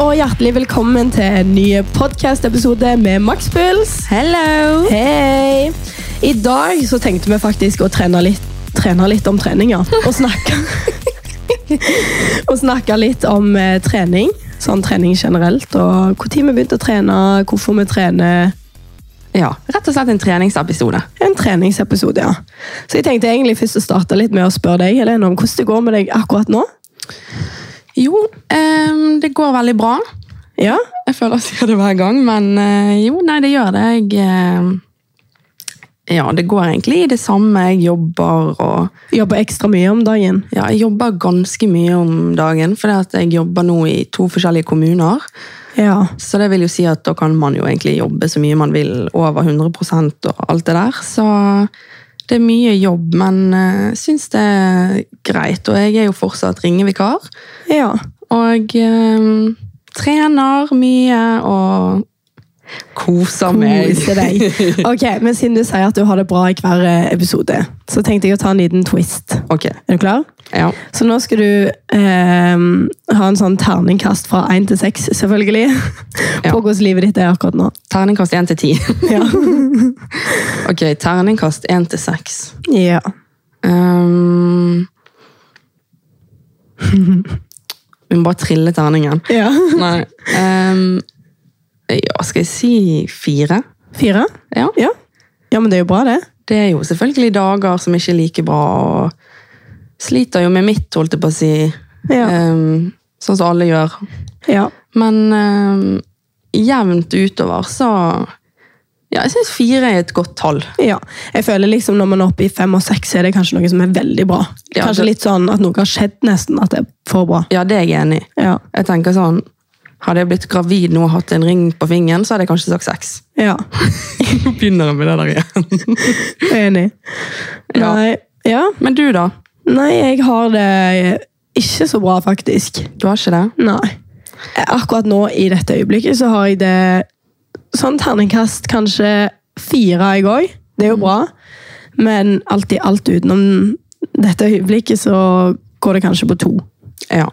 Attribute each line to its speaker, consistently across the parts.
Speaker 1: og hjertelig velkommen til en ny podcast-episode med Maxpuls.
Speaker 2: Hello!
Speaker 1: Hei! I dag så tenkte vi faktisk å trene litt, trene litt om trening, ja. Og snakke, og snakke litt om eh, trening, sånn trening generelt, og hvor tid vi begynte å trene, hvorfor vi trener,
Speaker 2: Ja, rett og slett en treningsepisode.
Speaker 1: en treningsepisode, ja. Så jeg tenkte egentlig først å starte litt med å spørre deg, Helene, om hvordan det går med deg akkurat nå.
Speaker 2: Jo, ehm, det går veldig bra.
Speaker 1: Ja,
Speaker 2: Jeg føler jeg sier det hver gang, men eh, jo, nei, det gjør det. Jeg, ehm, ja, det går egentlig i det samme. Jeg jobber og
Speaker 1: jobber ekstra mye om dagen.
Speaker 2: ja, jeg jobber ganske mye om dagen, fordi at jeg jobber nå i to forskjellige kommuner.
Speaker 1: Ja,
Speaker 2: Så det vil jo si at da kan man jo egentlig jobbe så mye man vil, over 100 og alt det der. Så det er mye jobb, men uh, syns det er greit. Og jeg er jo fortsatt ringevikar.
Speaker 1: ja.
Speaker 2: Og eh, trener mye og koser meg.
Speaker 1: Kose deg. Ok, men siden du sier at du har det bra i hver eh, episode, så tenkte jeg å ta en liten twist.
Speaker 2: ok,
Speaker 1: Er du klar?
Speaker 2: ja.
Speaker 1: Så nå skal du eh, ha en sånn terningkast fra 1 til 6, selvfølgelig, på
Speaker 2: Ja.
Speaker 1: hvordan livet ditt er akkurat nå.
Speaker 2: Terningkast 1 til 10.
Speaker 1: Ja.
Speaker 2: ok, terningkast 1 til 6.
Speaker 1: ja.
Speaker 2: Um, vi må bare trille terningen.
Speaker 1: ja.
Speaker 2: Nei. ehm, ja, skal jeg si fire?
Speaker 1: Fire?
Speaker 2: Ja.
Speaker 1: Ja. Ja, men det er jo bra det.
Speaker 2: Det er jo selvfølgelig dager som ikke er like bra, og sliter jo med mitt, holdt jeg på å si.
Speaker 1: Ja.
Speaker 2: Ehm, sånn som alle gjør.
Speaker 1: Ja.
Speaker 2: Men ehm, jevnt utover, så Ja, jeg syns fire er et godt tall.
Speaker 1: ja. Jeg føler liksom når man er oppe i fem og seks, så er det kanskje noe som er veldig bra.
Speaker 2: Ja,
Speaker 1: Kanskje
Speaker 2: det-
Speaker 1: litt sånn at noe har skjedd nesten, at det er for bra.
Speaker 2: Ja, det er jeg enig i.
Speaker 1: Ja.
Speaker 2: Jeg tenker sånn Hadde jeg blitt gravid nå og hatt en ring på fingeren, så hadde jeg kanskje sagt seks.
Speaker 1: Ja.
Speaker 2: Nå begynner jeg med det der igjen.
Speaker 1: Enig.
Speaker 2: Ja.
Speaker 1: Nei. Ja.
Speaker 2: Men du, da?
Speaker 1: Nei, jeg har det ikke så bra, faktisk.
Speaker 2: Du har ikke det?
Speaker 1: Nei. Akkurat nå, i dette øyeblikket, så har jeg det sånn terningkast kanskje fire, jeg òg. Det
Speaker 2: Mm.
Speaker 1: er jo bra. Men alt i alt utenom dette øyeblikket, så går det kanskje på to.
Speaker 2: Ja.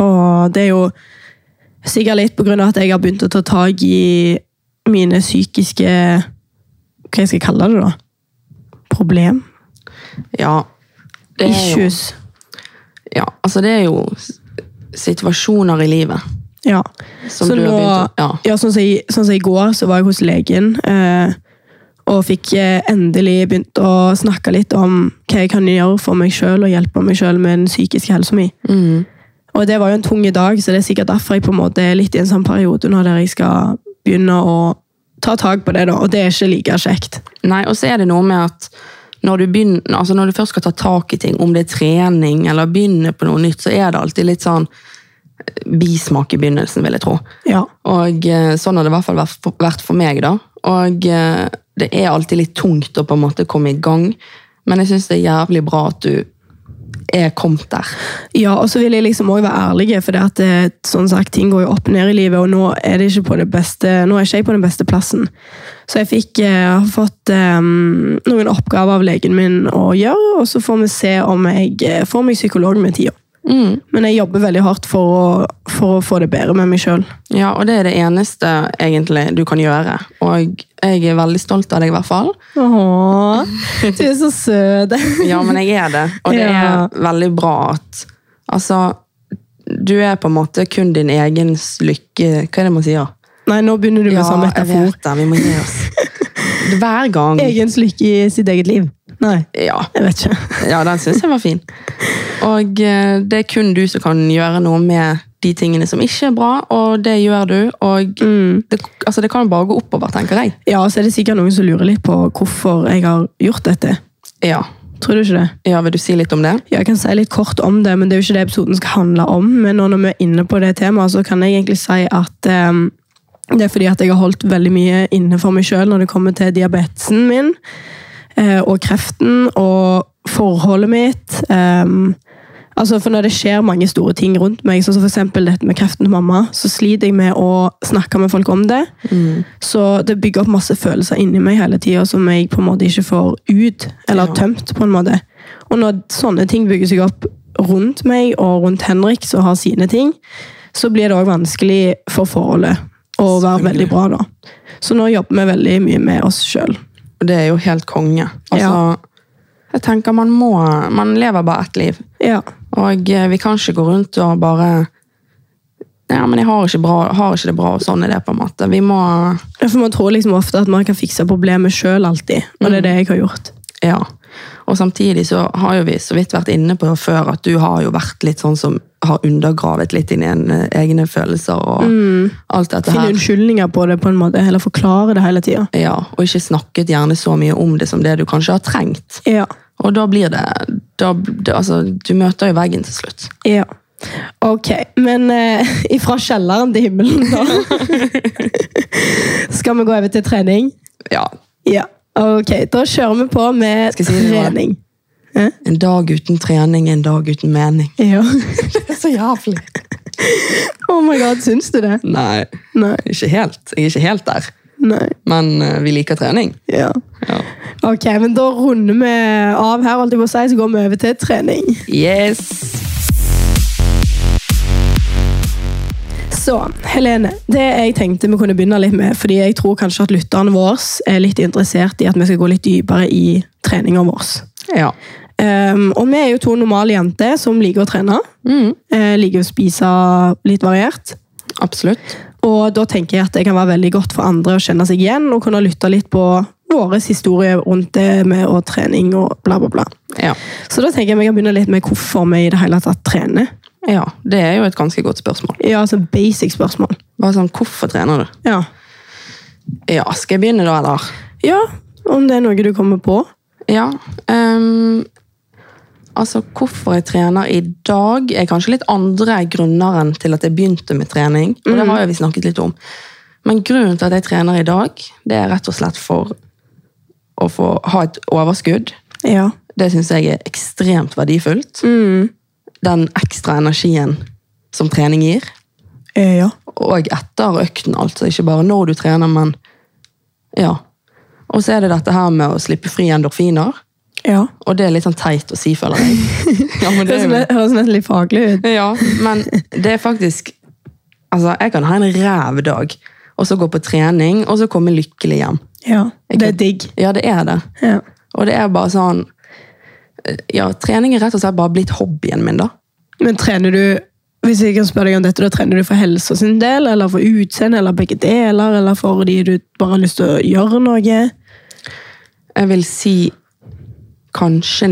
Speaker 1: Og det er jo sikkert litt på grunn av at jeg har begynt å ta tak i mine psykiske Hva jeg skal kalle det, da? Problem?
Speaker 2: Ja. Det er jo-
Speaker 1: Issues.
Speaker 2: Ja, altså det er jo s- situasjoner i livet.
Speaker 1: Ja.
Speaker 2: Som
Speaker 1: så
Speaker 2: du har
Speaker 1: nå,
Speaker 2: begynt å-
Speaker 1: ja.
Speaker 2: ja.
Speaker 1: sånn, som i, sånn som i går, så var jeg hos legen eh, og fikk eh, endelig begynt å snakke litt om hva jeg kan gjøre for meg sjøl og hjelpe meg sjøl med den psykiske helsa mi.
Speaker 2: Mm.
Speaker 1: Og det var jo en tung dag, så det er sikkert derfor jeg på en måte er litt i en sånn periode nå der jeg skal begynne å ta tak på det, da. Og det er ikke like kjekt.
Speaker 2: Nei, og så er det noe med at når du, begynner, altså når du først skal ta tak i ting, om det er trening eller begynne på noe nytt, så er det alltid litt sånn bismak i begynnelsen, vil jeg tro.
Speaker 1: Ja.
Speaker 2: Og eh, sånn har det i hvert fall vært for- vært for meg, da. Og eh, det er alltid litt tungt å på en måte komme i gang, men jeg syns det er jævlig bra at du er kommet der.
Speaker 1: Ja, og så vil jeg liksom også være ærlig, for det at eh, sånn sagt, ting går jo opp og ned i livet, og nå er, det ikke på det beste, nå er ikke jeg på den beste plassen. Så jeg fikk, eh, har fått eh, noen oppgaver av legen min å gjøre, og så får vi se om jeg eh, får meg psykolog med tida. Men jeg jobber veldig hardt for å, for å få det bedre med meg sjøl.
Speaker 2: Ja, og det er det eneste egentlig du kan gjøre. Og jeg er veldig stolt av deg, i hvert fall.
Speaker 1: Åh, du er så søt.
Speaker 2: Ja, men jeg er det. Og det
Speaker 1: Ja.
Speaker 2: er veldig bra at Altså, du er på en måte kun din egen lykke Hva er det man sier?
Speaker 1: Nei, nå begynner du med sånn metafor.
Speaker 2: det. Vi må gi oss. Hver gang.
Speaker 1: Egens lykke i sitt eget liv. Nei,
Speaker 2: Ja.
Speaker 1: jeg vet ikke.
Speaker 2: ja, den syns jeg var fin. Og eh, det er kun du som kan gjøre noe med de tingene som ikke er bra, og det gjør du. Og
Speaker 1: Mm.
Speaker 2: det, altså, det kan bare gå oppover, tenker jeg.
Speaker 1: Ja, og så er det sikkert noen som lurer litt på hvorfor jeg har gjort dette.
Speaker 2: Ja.
Speaker 1: Tror du ikke det?
Speaker 2: ja, vil du si litt om det?
Speaker 1: Ja, jeg kan si litt kort om det, men det er jo ikke det episoden skal handle om. Men nå når vi er inne på det temaet, så kan jeg egentlig si at ehm, det er fordi at jeg har holdt veldig mye inne for meg sjøl når det kommer til diabetesen min, eh, og kreften, og forholdet mitt. ehm, altså for Når det skjer mange store ting rundt meg, sånn som for eksempel dette med kreften til mamma, så sliter jeg med å snakke med folk om det. Så det bygger opp masse følelser inni meg hele tida som jeg på en måte ikke får ut, eller
Speaker 2: Ja.
Speaker 1: tømt, på en måte. Og når sånne ting bygger seg opp rundt meg og rundt Henrik, som har sine ting, så blir det òg vanskelig for forholdet å være veldig bra da. Så nå jobber vi veldig mye med oss sjøl.
Speaker 2: Og det er jo helt konge. Altså, Jeg tenker man må Man lever bare ett liv.
Speaker 1: Ja.
Speaker 2: Og eh, vi kan ikke gå rundt og bare Ja, men jeg har ikke, bra, har ikke det bra, og sånn er det, på en måte. Vi må
Speaker 1: Ja, For man tror liksom ofte at man kan fikse problemet sjøl alltid, og
Speaker 2: Mm.
Speaker 1: det er det jeg har gjort.
Speaker 2: Ja. Og samtidig så har jo vi så vidt vært inne på før at du har jo vært litt sånn som har undergravet litt dine egne- egne følelser og alt dette
Speaker 1: Finne
Speaker 2: her.
Speaker 1: unnskyldninger på det, på en måte, eller forklare det hele tida.
Speaker 2: Ja, og ikke snakket gjerne så mye om det som det du kanskje har trengt.
Speaker 1: Ja.
Speaker 2: Og da blir det, da, det Altså, du møter jo veggen til slutt.
Speaker 1: ja. Ok, men eh, ifra kjelleren til himmelen, da. Skal vi gå over til trening?
Speaker 2: Ja.
Speaker 1: Ja. Ok, da kjører vi på med
Speaker 2: Skal jeg si det nå?
Speaker 1: trening.
Speaker 2: En dag uten trening, en dag uten mening.
Speaker 1: Ja.
Speaker 2: Det er så jævlig.
Speaker 1: oh my god, syns du det?
Speaker 2: Nei,
Speaker 1: Nei.
Speaker 2: ikke helt. Jeg er ikke helt der.
Speaker 1: Nei.
Speaker 2: Men eh, vi liker trening.
Speaker 1: Ja.
Speaker 2: Ja.
Speaker 1: Ok, men da runder vi av her, holdt jeg på å si, så går vi over til trening.
Speaker 2: Yes!
Speaker 1: Så, Helene, det jeg tenkte vi kunne begynne litt med, fordi jeg tror kanskje at lytterne våre er litt interessert i at vi skal gå litt dypere i treninga vår.
Speaker 2: Ja.
Speaker 1: Um, og vi er jo to normale jenter som liker å trene.
Speaker 2: Mm.
Speaker 1: eh, liker å spise litt variert.
Speaker 2: Absolutt.
Speaker 1: Og da tenker jeg at det kan være veldig godt for andre å kjenne seg igjen og kunne lytte litt på vår historie rundt det med og trening og bla, bla, bla.
Speaker 2: Ja.
Speaker 1: Så da tenker jeg vi kan begynne litt med hvorfor vi i det hele tatt trener.
Speaker 2: ja. Det er jo et ganske godt spørsmål.
Speaker 1: Ja, altså basic spørsmål.
Speaker 2: Bare sånn, Hvorfor trener du?
Speaker 1: Ja.
Speaker 2: Ja, Skal jeg begynne da, eller?
Speaker 1: ja, om det er noe du kommer på.
Speaker 2: Ja. ehm, altså, hvorfor jeg trener i dag, er kanskje litt andre grunner enn til at jeg begynte med trening. Og det har jo vi snakket litt om. Men grunnen til at jeg trener i dag, det er rett og slett for å få ha et overskudd.
Speaker 1: Ja.
Speaker 2: Det syns jeg er ekstremt verdifullt. Den ekstra energien som trening gir.
Speaker 1: Eh, ja.
Speaker 2: Og etter økten, altså. Ikke bare når du trener, men ja. Og så er det dette her med å slippe fri endorfiner.
Speaker 1: Ja.
Speaker 2: Og det er litt sånn teit å si, føler jeg. Ja, men det,
Speaker 1: Høres,
Speaker 2: er-
Speaker 1: ne- høres nesten litt faglig ut.
Speaker 2: ja, men det er faktisk Altså, jeg kan ha en ræv dag, og så gå på trening, og så komme lykkelig hjem.
Speaker 1: Ja.
Speaker 2: Jeg
Speaker 1: Det er
Speaker 2: kan-
Speaker 1: digg.
Speaker 2: Ja, det er det.
Speaker 1: Ja.
Speaker 2: Og det er bare sånn eh, Ja, trening er rett og slett bare blitt hobbyen min, da.
Speaker 1: Men trener du hvis jeg kan spørre deg om dette, da trener du for helsa sin del, eller for utseende, eller begge deler, eller fordi du bare har lyst til å gjøre noe?
Speaker 2: Jeg vil si kanskje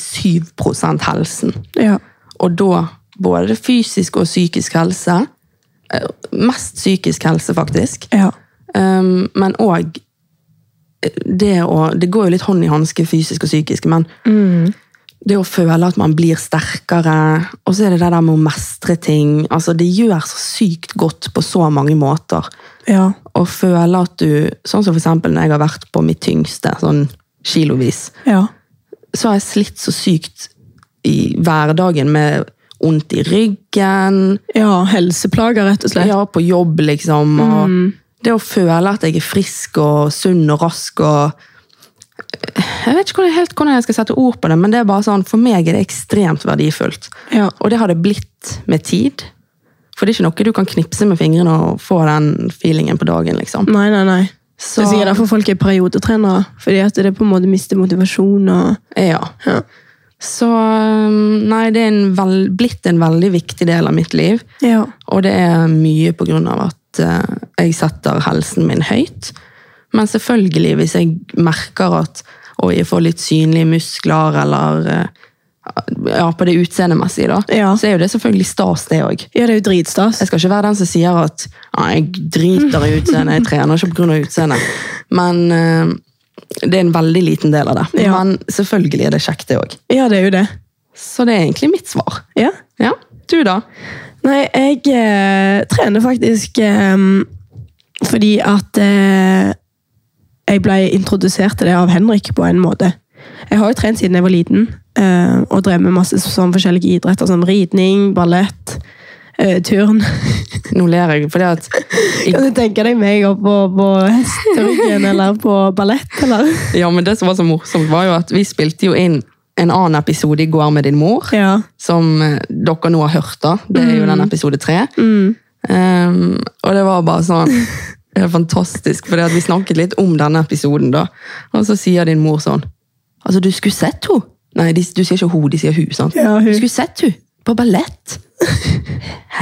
Speaker 2: 97 helsen.
Speaker 1: Ja.
Speaker 2: Og da både fysisk og psykisk helse. Eh, Mest psykisk helse, faktisk.
Speaker 1: Ja.
Speaker 2: Um, men òg det å Det går jo litt hånd i hanske, fysisk og psykisk, men det å føle at man blir sterkere, og så er det det der med å mestre ting altså Det gjør så sykt godt på så mange måter.
Speaker 1: Ja.
Speaker 2: Å føle at du Sånn som for eksempel når jeg har vært på mitt tyngste, sånn kilovis,
Speaker 1: Ja.
Speaker 2: så har jeg slitt så sykt i hverdagen med vondt i ryggen,
Speaker 1: ja helseplager, rett og slett.
Speaker 2: ja, på jobb, liksom. Og Det å føle at jeg er frisk og sunn og rask og Jeg vet ikke hvordan, helt hvordan jeg skal sette ord på det, men det er bare sånn, for meg er det ekstremt verdifullt.
Speaker 1: Ja.
Speaker 2: Og det har det blitt med tid. For det er ikke noe du kan knipse med fingrene og få den feelingen på dagen. liksom.
Speaker 1: Nei, nei, nei.
Speaker 2: Så-
Speaker 1: Det er sikkert derfor folk er periodetrenere. Fordi at det på en måte mister motivasjon og
Speaker 2: Ja.
Speaker 1: Ja.
Speaker 2: Så um, Nei, det er en vel, blitt en veldig viktig del av mitt liv.
Speaker 1: Ja.
Speaker 2: Og det er mye på grunn av at eh, jeg setter helsen min høyt. Men selvfølgelig, hvis jeg merker at «Oi, jeg får litt synlige muskler, eller eh, ja, på det utseendemessige, da,
Speaker 1: Ja.
Speaker 2: så er jo det selvfølgelig stas, det òg.
Speaker 1: ja, det er jo dritstas.
Speaker 2: Jeg skal ikke være den som sier at «Ja, jeg driter i utseendet, jeg trener ikke pga. utseendet. Men eh, det er en veldig liten del av det.
Speaker 1: Ja.
Speaker 2: Men selvfølgelig er det kjekt, det òg.
Speaker 1: Ja, det er jo det.
Speaker 2: Så det er egentlig mitt svar.
Speaker 1: Ja.
Speaker 2: Ja, Du, da?
Speaker 1: Nei, jeg eh, trener faktisk eh, fordi at eh, jeg ble introdusert til det av Henrik på en måte. Jeg har jo trent siden jeg var liten, eh, og drev med masse sånn forskjellige idretter som ridning, ballett, eh, turn.
Speaker 2: Nå ler jeg, fordi at i
Speaker 1: Kan du tenke deg meg opp på, på hesteryggen eller på ballett? Eller?
Speaker 2: Ja, men det som var så morsomt var jo at vi spilte jo inn en annen episode i går med din mor,
Speaker 1: Ja.
Speaker 2: som eh, dere nå har hørt. da. Det er jo den episode tre.
Speaker 1: Mm.
Speaker 2: Ehm, og det var bare sånn det er fantastisk, for vi snakket litt om denne episoden. da. Og så sier din mor sånn Altså, du skulle sett henne! Nei, de, du sier ikke hun, de sier hun. sant?
Speaker 1: Ja, hun.
Speaker 2: Du skulle sett henne på ballett!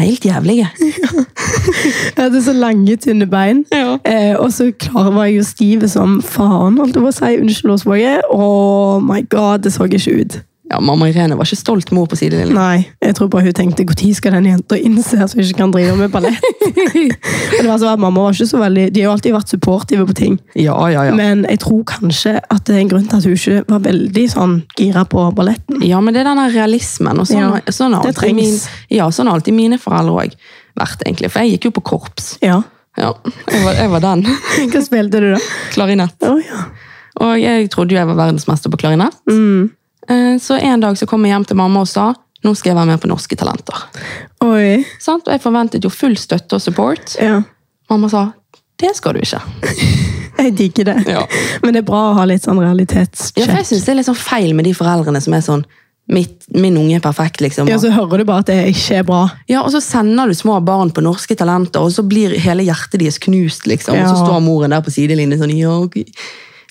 Speaker 2: Helt jævlig.
Speaker 1: Jeg hadde så lange, tynne bein.
Speaker 2: Ja.
Speaker 1: Eh, og så klar var jeg jo stiv som faen, holdt jeg på å si. Unnskyld ordspråket. Oh my god, det så ikke ut.
Speaker 2: Ja, Mamma Irene var ikke stolt mor på sidelinjen.
Speaker 1: Nei, jeg tror bare hun tenkte når skal den jenta innse at hun ikke kan drive med ballett? Men det var så at Mamma var ikke så veldig De har jo alltid vært supportive på ting,
Speaker 2: Ja, ja, ja.
Speaker 1: men jeg tror kanskje at det er en grunn til at hun ikke var veldig sånn gira på balletten.
Speaker 2: Ja, men det er den der realismen. Og sånn,
Speaker 1: Ja,
Speaker 2: har- sånn, har
Speaker 1: det
Speaker 2: alltid min,
Speaker 1: trengs.
Speaker 2: ja, sånn har alltid mine foreldre òg vært, egentlig. For jeg gikk jo på korps.
Speaker 1: Ja.
Speaker 2: Ja, Jeg var, jeg var den.
Speaker 1: Hva spilte du, da?
Speaker 2: Klarinett.
Speaker 1: Å ja.
Speaker 2: Og jeg trodde jo jeg var verdensmester på klarinett.
Speaker 1: Mm.
Speaker 2: Eh, Så en dag så kom jeg hjem til mamma og sa nå skal jeg være med på Norske Talenter.
Speaker 1: Oi.
Speaker 2: Sant? Og jeg forventet jo full støtte og support.
Speaker 1: Ja.
Speaker 2: Mamma sa det skal du ikke.
Speaker 1: Jeg digger det.
Speaker 2: Ja.
Speaker 1: Men det er bra å ha litt sånn
Speaker 2: Ja, for jeg
Speaker 1: realitetssjekk.
Speaker 2: synes det er litt sånn feil med de foreldrene som er sånn mitt, 'Min unge er perfekt', liksom.
Speaker 1: Ja,
Speaker 2: Og,
Speaker 1: så hører du bare at det ikke er bra.
Speaker 2: ja, og så sender du små barn på Norske Talenter, og så blir hele hjertet deres knust, liksom. Og så
Speaker 1: Ja.
Speaker 2: står moren der på sidelinjen sånn ja, ok».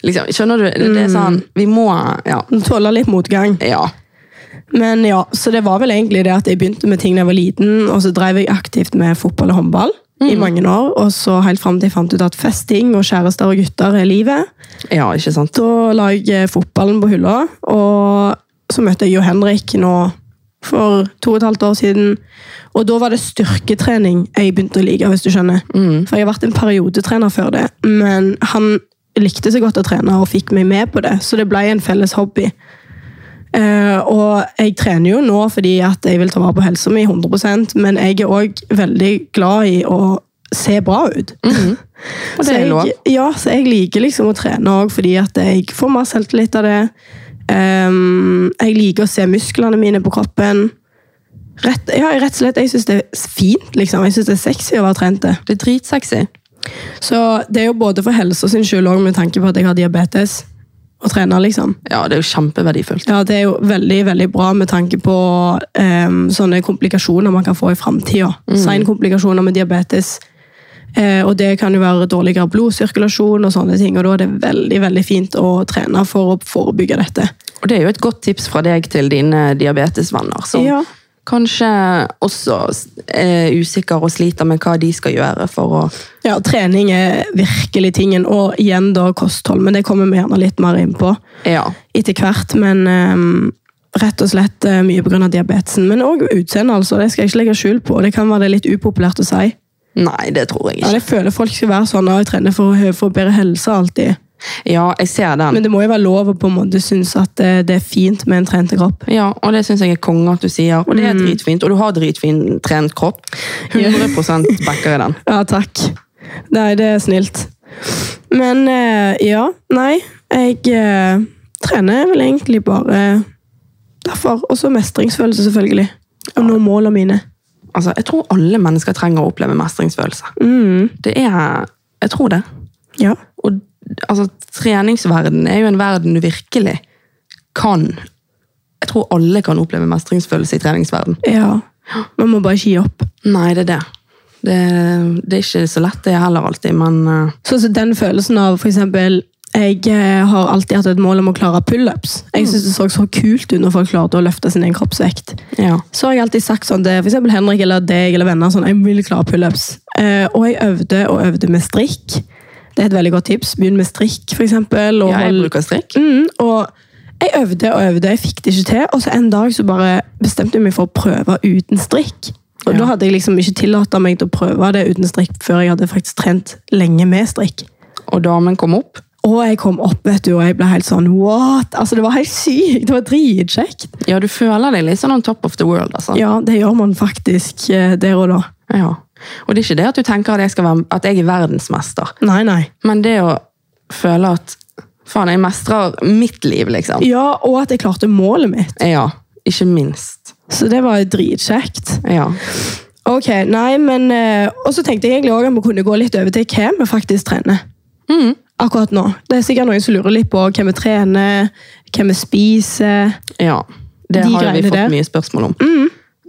Speaker 2: liksom, Skjønner du? Det, det er sånn Vi må Ja.
Speaker 1: Du tåler litt motgang.
Speaker 2: ja.
Speaker 1: Men ja, så det var vel egentlig det at jeg begynte med ting da jeg var liten, og så drev jeg aktivt med fotball og håndball i mange år, og så helt frem til jeg fant ut at festing og kjærester og gutter er livet.
Speaker 2: Ja, ikke sant?
Speaker 1: Da la jeg eh, fotballen på hylla, og så møtte jeg jo Henrik nå for to og et halvt år siden, og da var det styrketrening jeg begynte å like, hvis du skjønner. For jeg har vært en periodetrener før det, men han likte så godt å trene og fikk meg med på det, så det ble en felles hobby. Eh, og jeg trener jo nå fordi at jeg vil ta vare på helsa mi 100 men jeg er òg veldig glad i å se bra ut.
Speaker 2: Og det
Speaker 1: så
Speaker 2: er lov.
Speaker 1: jeg, ja, så jeg liker liksom å trene òg fordi at jeg får mer selvtillit av det. Ehm, jeg liker å se musklene mine på kroppen. Rett, ja, rett og slett, Jeg syns det er fint. liksom. Jeg syns det er sexy å være trent. det.
Speaker 2: Det er dritsexy.
Speaker 1: Så det er jo både for helsa sin skyld og med tanke på at jeg har diabetes, å trene, liksom.
Speaker 2: Ja, det er jo kjempeverdifullt.
Speaker 1: Ja, det er jo veldig, veldig bra med tanke på em, sånne komplikasjoner man kan få i framtida. Seinkomplikasjoner med diabetes. Eh, og det kan jo være dårligere blodsirkulasjon og sånne ting, og da er det veldig, veldig fint å trene for å forebygge dette.
Speaker 2: Og det er jo et godt tips fra deg til dine diabetesvenner, som
Speaker 1: Ja.
Speaker 2: kanskje også er usikre og sliter med hva de skal gjøre for å
Speaker 1: Ja, trening er virkelig tingen, og igjen da kosthold, men det kommer vi gjerne litt mer inn på
Speaker 2: Ja.
Speaker 1: etter hvert, men em, Rett og slett eh, mye pga. diabetesen, men òg utseendet. Altså. Det skal jeg ikke legge skjul på. Det kan være det er litt upopulært å si.
Speaker 2: Nei, det tror jeg
Speaker 1: Ja,
Speaker 2: ikke.
Speaker 1: jeg føler folk skal være sånn og trene for, å hø- for bedre helse alltid.
Speaker 2: Ja, jeg ser den.
Speaker 1: Men det må jo være lov å på en måte synes at eh, det er fint med en trent kropp.
Speaker 2: Ja, og det syns jeg er konge at du sier. Og det er dritfint. Og du har dritfin trent kropp. 100 backer jeg den.
Speaker 1: Ja, takk. Nei, det er snilt. Men eh, ja, nei. Jeg eh, trener vel egentlig bare derfor. Og så mestringsfølelse, selvfølgelig. Og nå målene mine.
Speaker 2: Altså, jeg tror alle mennesker trenger å oppleve mestringsfølelse. Det er Jeg tror det.
Speaker 1: Ja.
Speaker 2: Og altså, treningsverdenen er jo en verden du virkelig kan Jeg tror alle kan oppleve mestringsfølelse i treningsverden.
Speaker 1: ja. Man må bare ikke gi opp.
Speaker 2: Nei, det er det. Det, det er ikke så lett, det heller, alltid, men eh,
Speaker 1: Sånn som den følelsen av for eksempel jeg eh, har alltid hatt et mål om å klare pull-ups.
Speaker 2: Mm.
Speaker 1: Jeg synes det så så kult ut når folk klarte å løfte sin egen kroppsvekt.
Speaker 2: ja.
Speaker 1: Så har jeg alltid sagt sånn til for eksempel Henrik eller deg eller venner sånn, jeg vil klare pull-ups. Eh, og jeg øvde og øvde med strikk. Det er et veldig godt tips. Begynn med strikk, for eksempel. Og
Speaker 2: ja jeg
Speaker 1: hold-
Speaker 2: bruker strikk.
Speaker 1: Mm, og jeg øvde og øvde, jeg fikk det ikke til. Og så en dag så bare bestemte jeg meg for å prøve uten strikk. Og
Speaker 2: Ja.
Speaker 1: da hadde jeg liksom ikke tillatt meg til å prøve det uten strikk før jeg hadde faktisk trent lenge med strikk.
Speaker 2: Og damen kom opp.
Speaker 1: Og jeg kom opp, vet du, og jeg ble helt sånn what? Altså, Det var helt sykt! Det var dritkjekt.
Speaker 2: Ja, du føler deg litt sånn on top of the world, altså.
Speaker 1: Ja, det gjør man faktisk eh, der og da.
Speaker 2: Ja. Og det er ikke det at du tenker at jeg, skal være, at jeg er verdensmester,
Speaker 1: Nei, nei.
Speaker 2: men det å føle at faen, jeg mestrer mitt liv, liksom.
Speaker 1: Ja, og at jeg klarte målet mitt.
Speaker 2: Ja. Ikke minst.
Speaker 1: Så det var jo dritkjekt.
Speaker 2: Ja.
Speaker 1: Ok, nei, men eh, Og så tenkte jeg egentlig også at vi kunne gå litt over til hva Mm. vi faktisk trener. Akkurat nå. Det er sikkert noen som lurer litt på hva vi trener, hva vi spiser.
Speaker 2: Ja, det
Speaker 1: De
Speaker 2: har jo vi
Speaker 1: greiene
Speaker 2: fått
Speaker 1: der. Mm.
Speaker 2: mye spørsmål om.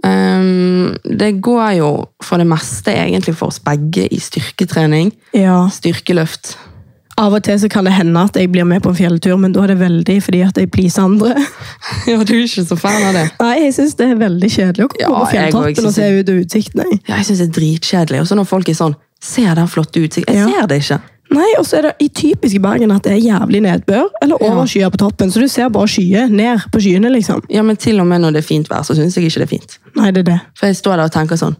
Speaker 2: Um, det går jo for det meste egentlig for oss begge i styrketrening.
Speaker 1: Ja.
Speaker 2: Styrkeløft.
Speaker 1: Av og til så kan det hende at jeg blir med på en fjelltur, men da er det veldig fordi at jeg pleaser andre.
Speaker 2: ja, du er ikke så fan av det.
Speaker 1: Nei, jeg syns det er veldig kjedelig å komme
Speaker 2: Ja,
Speaker 1: på
Speaker 2: jeg går ikke
Speaker 1: fjelltoppen og
Speaker 2: så-
Speaker 1: se ut av utsikten. jeg.
Speaker 2: Ja, jeg synes det er dritkjedelig. Og så når folk er sånn, ser den flotte utsikten. Jeg
Speaker 1: Ja.
Speaker 2: ser det ikke.
Speaker 1: Nei, og så er det i typiske Bergen at det er jævlig nedbør, eller
Speaker 2: Ja.
Speaker 1: overskyer på toppen, så du ser bare skyer ned på skyene, liksom.
Speaker 2: Ja, men til og med når det er fint vær, så synes jeg ikke det er fint.
Speaker 1: Nei, det er det.
Speaker 2: For jeg står der og tenker sånn,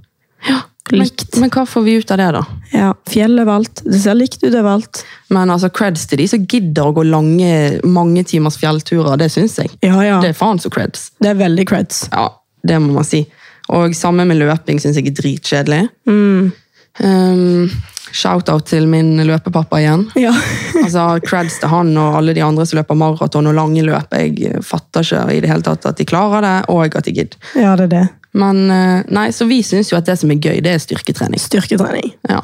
Speaker 2: ja, men,
Speaker 1: Likt.
Speaker 2: men hva får vi ut av det da?
Speaker 1: Ja, fjell overalt. Det ser likt ut overalt.
Speaker 2: Men altså, creds til de som gidder å gå lange, mange timers fjellturer, det synes jeg.
Speaker 1: Ja, ja. Det,
Speaker 2: Det er faen så creds.
Speaker 1: er veldig creds.
Speaker 2: Ja, det må man si. Og samme med løping synes jeg er dritkjedelig. Um, Shoutout til min løpepappa igjen.
Speaker 1: Ja.
Speaker 2: Altså, creds til han og alle de andre som løper maraton og lange løp. Jeg eh, fatter ikke i det hele tatt at de klarer det, og at de gidder.
Speaker 1: ja, det er det.
Speaker 2: Men eh, nei, så vi synes jo at det som er gøy, det er styrketrening.
Speaker 1: Styrketrening.
Speaker 2: Ja.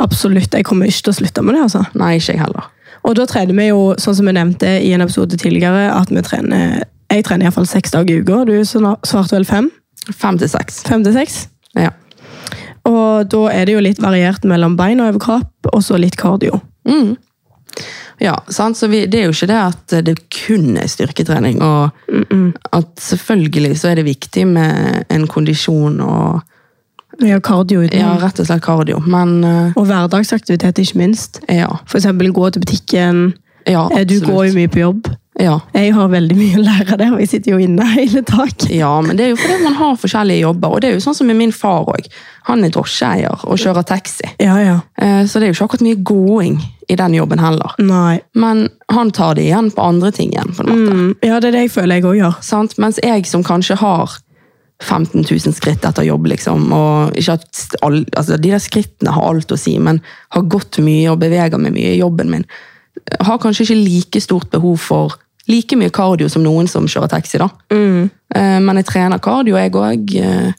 Speaker 1: Absolutt. Jeg kommer ikke til å slutte med det, altså.
Speaker 2: Nei, ikke jeg heller.
Speaker 1: Og da trener vi jo, sånn som vi nevnte i en episode tidligere, at vi trener Jeg trener iallfall seks dager i uka. Du snar- svarte vel fem?
Speaker 2: Fem til seks.
Speaker 1: Fem til seks?
Speaker 2: Ja.
Speaker 1: Og da er det jo litt variert mellom bein og overkropp, og så litt kardio.
Speaker 2: Mm. Ja, sant? Så vi, det er jo ikke det at det kun er styrketrening, og at selvfølgelig så er det viktig med en kondisjon og
Speaker 1: Vi gjør kardio uten
Speaker 2: ja, rett og slett kardio, men eh,
Speaker 1: Og hverdagsaktivitet, ikke minst.
Speaker 2: ja,
Speaker 1: For eksempel gå til butikken.
Speaker 2: ja,
Speaker 1: Eh, Du går jo
Speaker 2: absolutt.
Speaker 1: mye på jobb.
Speaker 2: Ja.
Speaker 1: Jeg har veldig mye å lære der, og jeg sitter jo inne hele dag.
Speaker 2: ja, men det er jo fordi man har forskjellige jobber, og det er jo sånn som med min far også. Han er drosjeeier og kjører taxi,
Speaker 1: Ja, ja.
Speaker 2: Eh, så det er jo ikke akkurat mye gåing i den jobben heller.
Speaker 1: Nei.
Speaker 2: Men han tar det igjen på andre ting igjen, på en måte.
Speaker 1: Mm, ja, det er det jeg føler jeg òg gjør.
Speaker 2: Sant? Mens jeg som kanskje har 15 000 skritt etter jobb, liksom, og ikke at all, altså, de der skrittene har alt å si, men har gått mye og beveget meg mye i jobben min, har kanskje ikke like stort behov for like mye kardio som noen som kjører taxi, da. Eh, Men jeg trener kardio, jeg òg.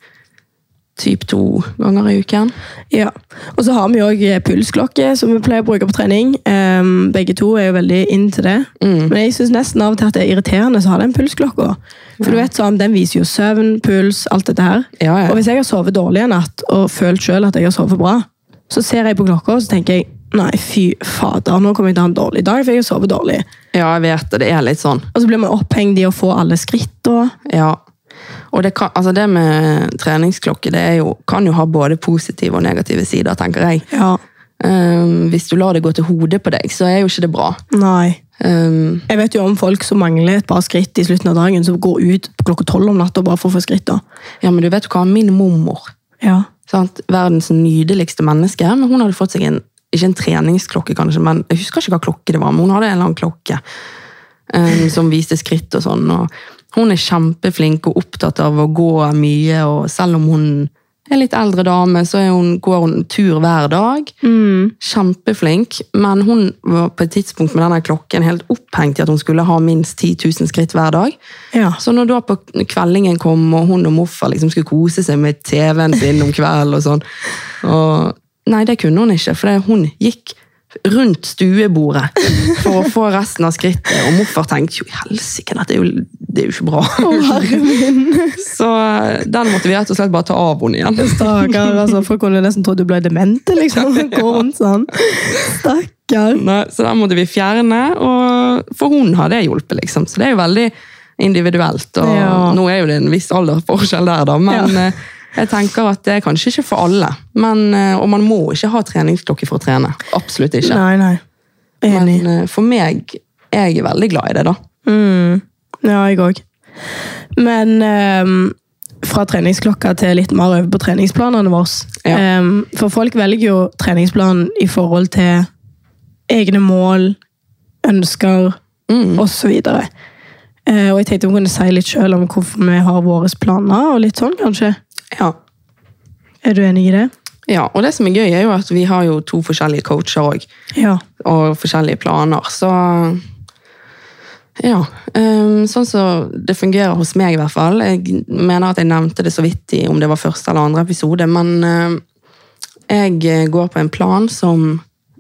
Speaker 2: Typ to ganger i uken.
Speaker 1: Ja. Og så har vi òg pulsklokke, som vi pleier å bruke på trening. Ehm, begge to er jo veldig inn til det.
Speaker 2: Mm.
Speaker 1: Men jeg syns nesten av og til at det er irriterende så har den pulsklokka. For du vet sånn, Den viser jo søvn, puls, alt dette her.
Speaker 2: Ja, ja.
Speaker 1: Og hvis jeg har sovet dårlig en natt og følt sjøl at jeg har sovet bra, så ser jeg på klokka og så tenker jeg nei, fy fader, nå kommer jeg til å ha en dårlig dag, for jeg har sovet dårlig.
Speaker 2: Ja, jeg vet det. Det er litt sånn.
Speaker 1: Og så blir man opphengt i å få alle skritt og
Speaker 2: Ja. Og det, kan, altså det med treningsklokke det er jo, kan jo ha både positive og negative sider, tenker jeg.
Speaker 1: Ja.
Speaker 2: Um, hvis du lar det gå til hodet på deg, så er jo ikke det bra.
Speaker 1: Nei.
Speaker 2: Um,
Speaker 1: Jeg vet jo om folk som mangler et par skritt i slutten av dagen, som går ut klokka tolv om natta bare for å få skritt. da.
Speaker 2: ja, men du vet jo hva, min mormor,
Speaker 1: Ja.
Speaker 2: sant? verdens nydeligste menneske, men hun hadde fått seg en, ikke en treningsklokke kanskje, men jeg husker ikke hva klokke det var, men hun hadde en eller annen klokke um, som viste skritt og sånn, og hun er kjempeflink og opptatt av å gå mye, og selv om hun er litt eldre dame, så er hun, går hun tur hver dag, kjempeflink, men hun var på et tidspunkt med denne klokken helt opphengt i at hun skulle ha minst 10 000 skritt hver dag.
Speaker 1: Ja.
Speaker 2: Så når da på kveldingen kom, og hun og morfar liksom skulle kose seg med TV-en sin om kvelden og sånn, og nei, det kunne hun ikke, for det, hun gikk rundt stuebordet for å få resten av skrittet, og morfar tenkte, jo helsike, dette er jo, det er jo ikke bra.
Speaker 1: Herre min.
Speaker 2: Så eh, den måtte vi rett og slett bare ta av henne igjen.
Speaker 1: Stakkar. Altså, folk kunne nesten tro du ble demente, liksom. Gå rundt sånn. Stakkar.
Speaker 2: Nei, så den måtte vi fjerne, og for hun har det hjulpet, liksom. Så det er jo veldig individuelt, og
Speaker 1: Ja.
Speaker 2: nå er jo det en viss alderforskjell der, da, men
Speaker 1: Ja.
Speaker 2: eh, jeg tenker at det er kanskje ikke for alle. Men, eh, og man må ikke ha treningsklokke for å trene. Absolutt ikke.
Speaker 1: Nei, nei. Enig.
Speaker 2: Men eh, for meg, jeg er veldig glad i det, da.
Speaker 1: Mm. Ja, jeg òg. Men ehm, fra treningsklokka til litt mer over på treningsplanene våre.
Speaker 2: Ja.
Speaker 1: Ehm, for folk velger jo treningsplanen i forhold til egne mål, ønsker
Speaker 2: Mm.
Speaker 1: osv. Uh, og jeg tenkte vi kunne si litt selv om hvorfor vi har våre planer, og litt sånn, kanskje.
Speaker 2: Ja.
Speaker 1: Er du enig i det?
Speaker 2: ja. Og det som er gøy, er jo at vi har jo to forskjellige coacher òg.
Speaker 1: Ja.
Speaker 2: og forskjellige planer. Så ja. ehm, sånn som det fungerer hos meg, i hvert fall. Jeg mener at jeg nevnte det så vidt i om det var første eller andre episode, men ehm, jeg eh, går på en plan som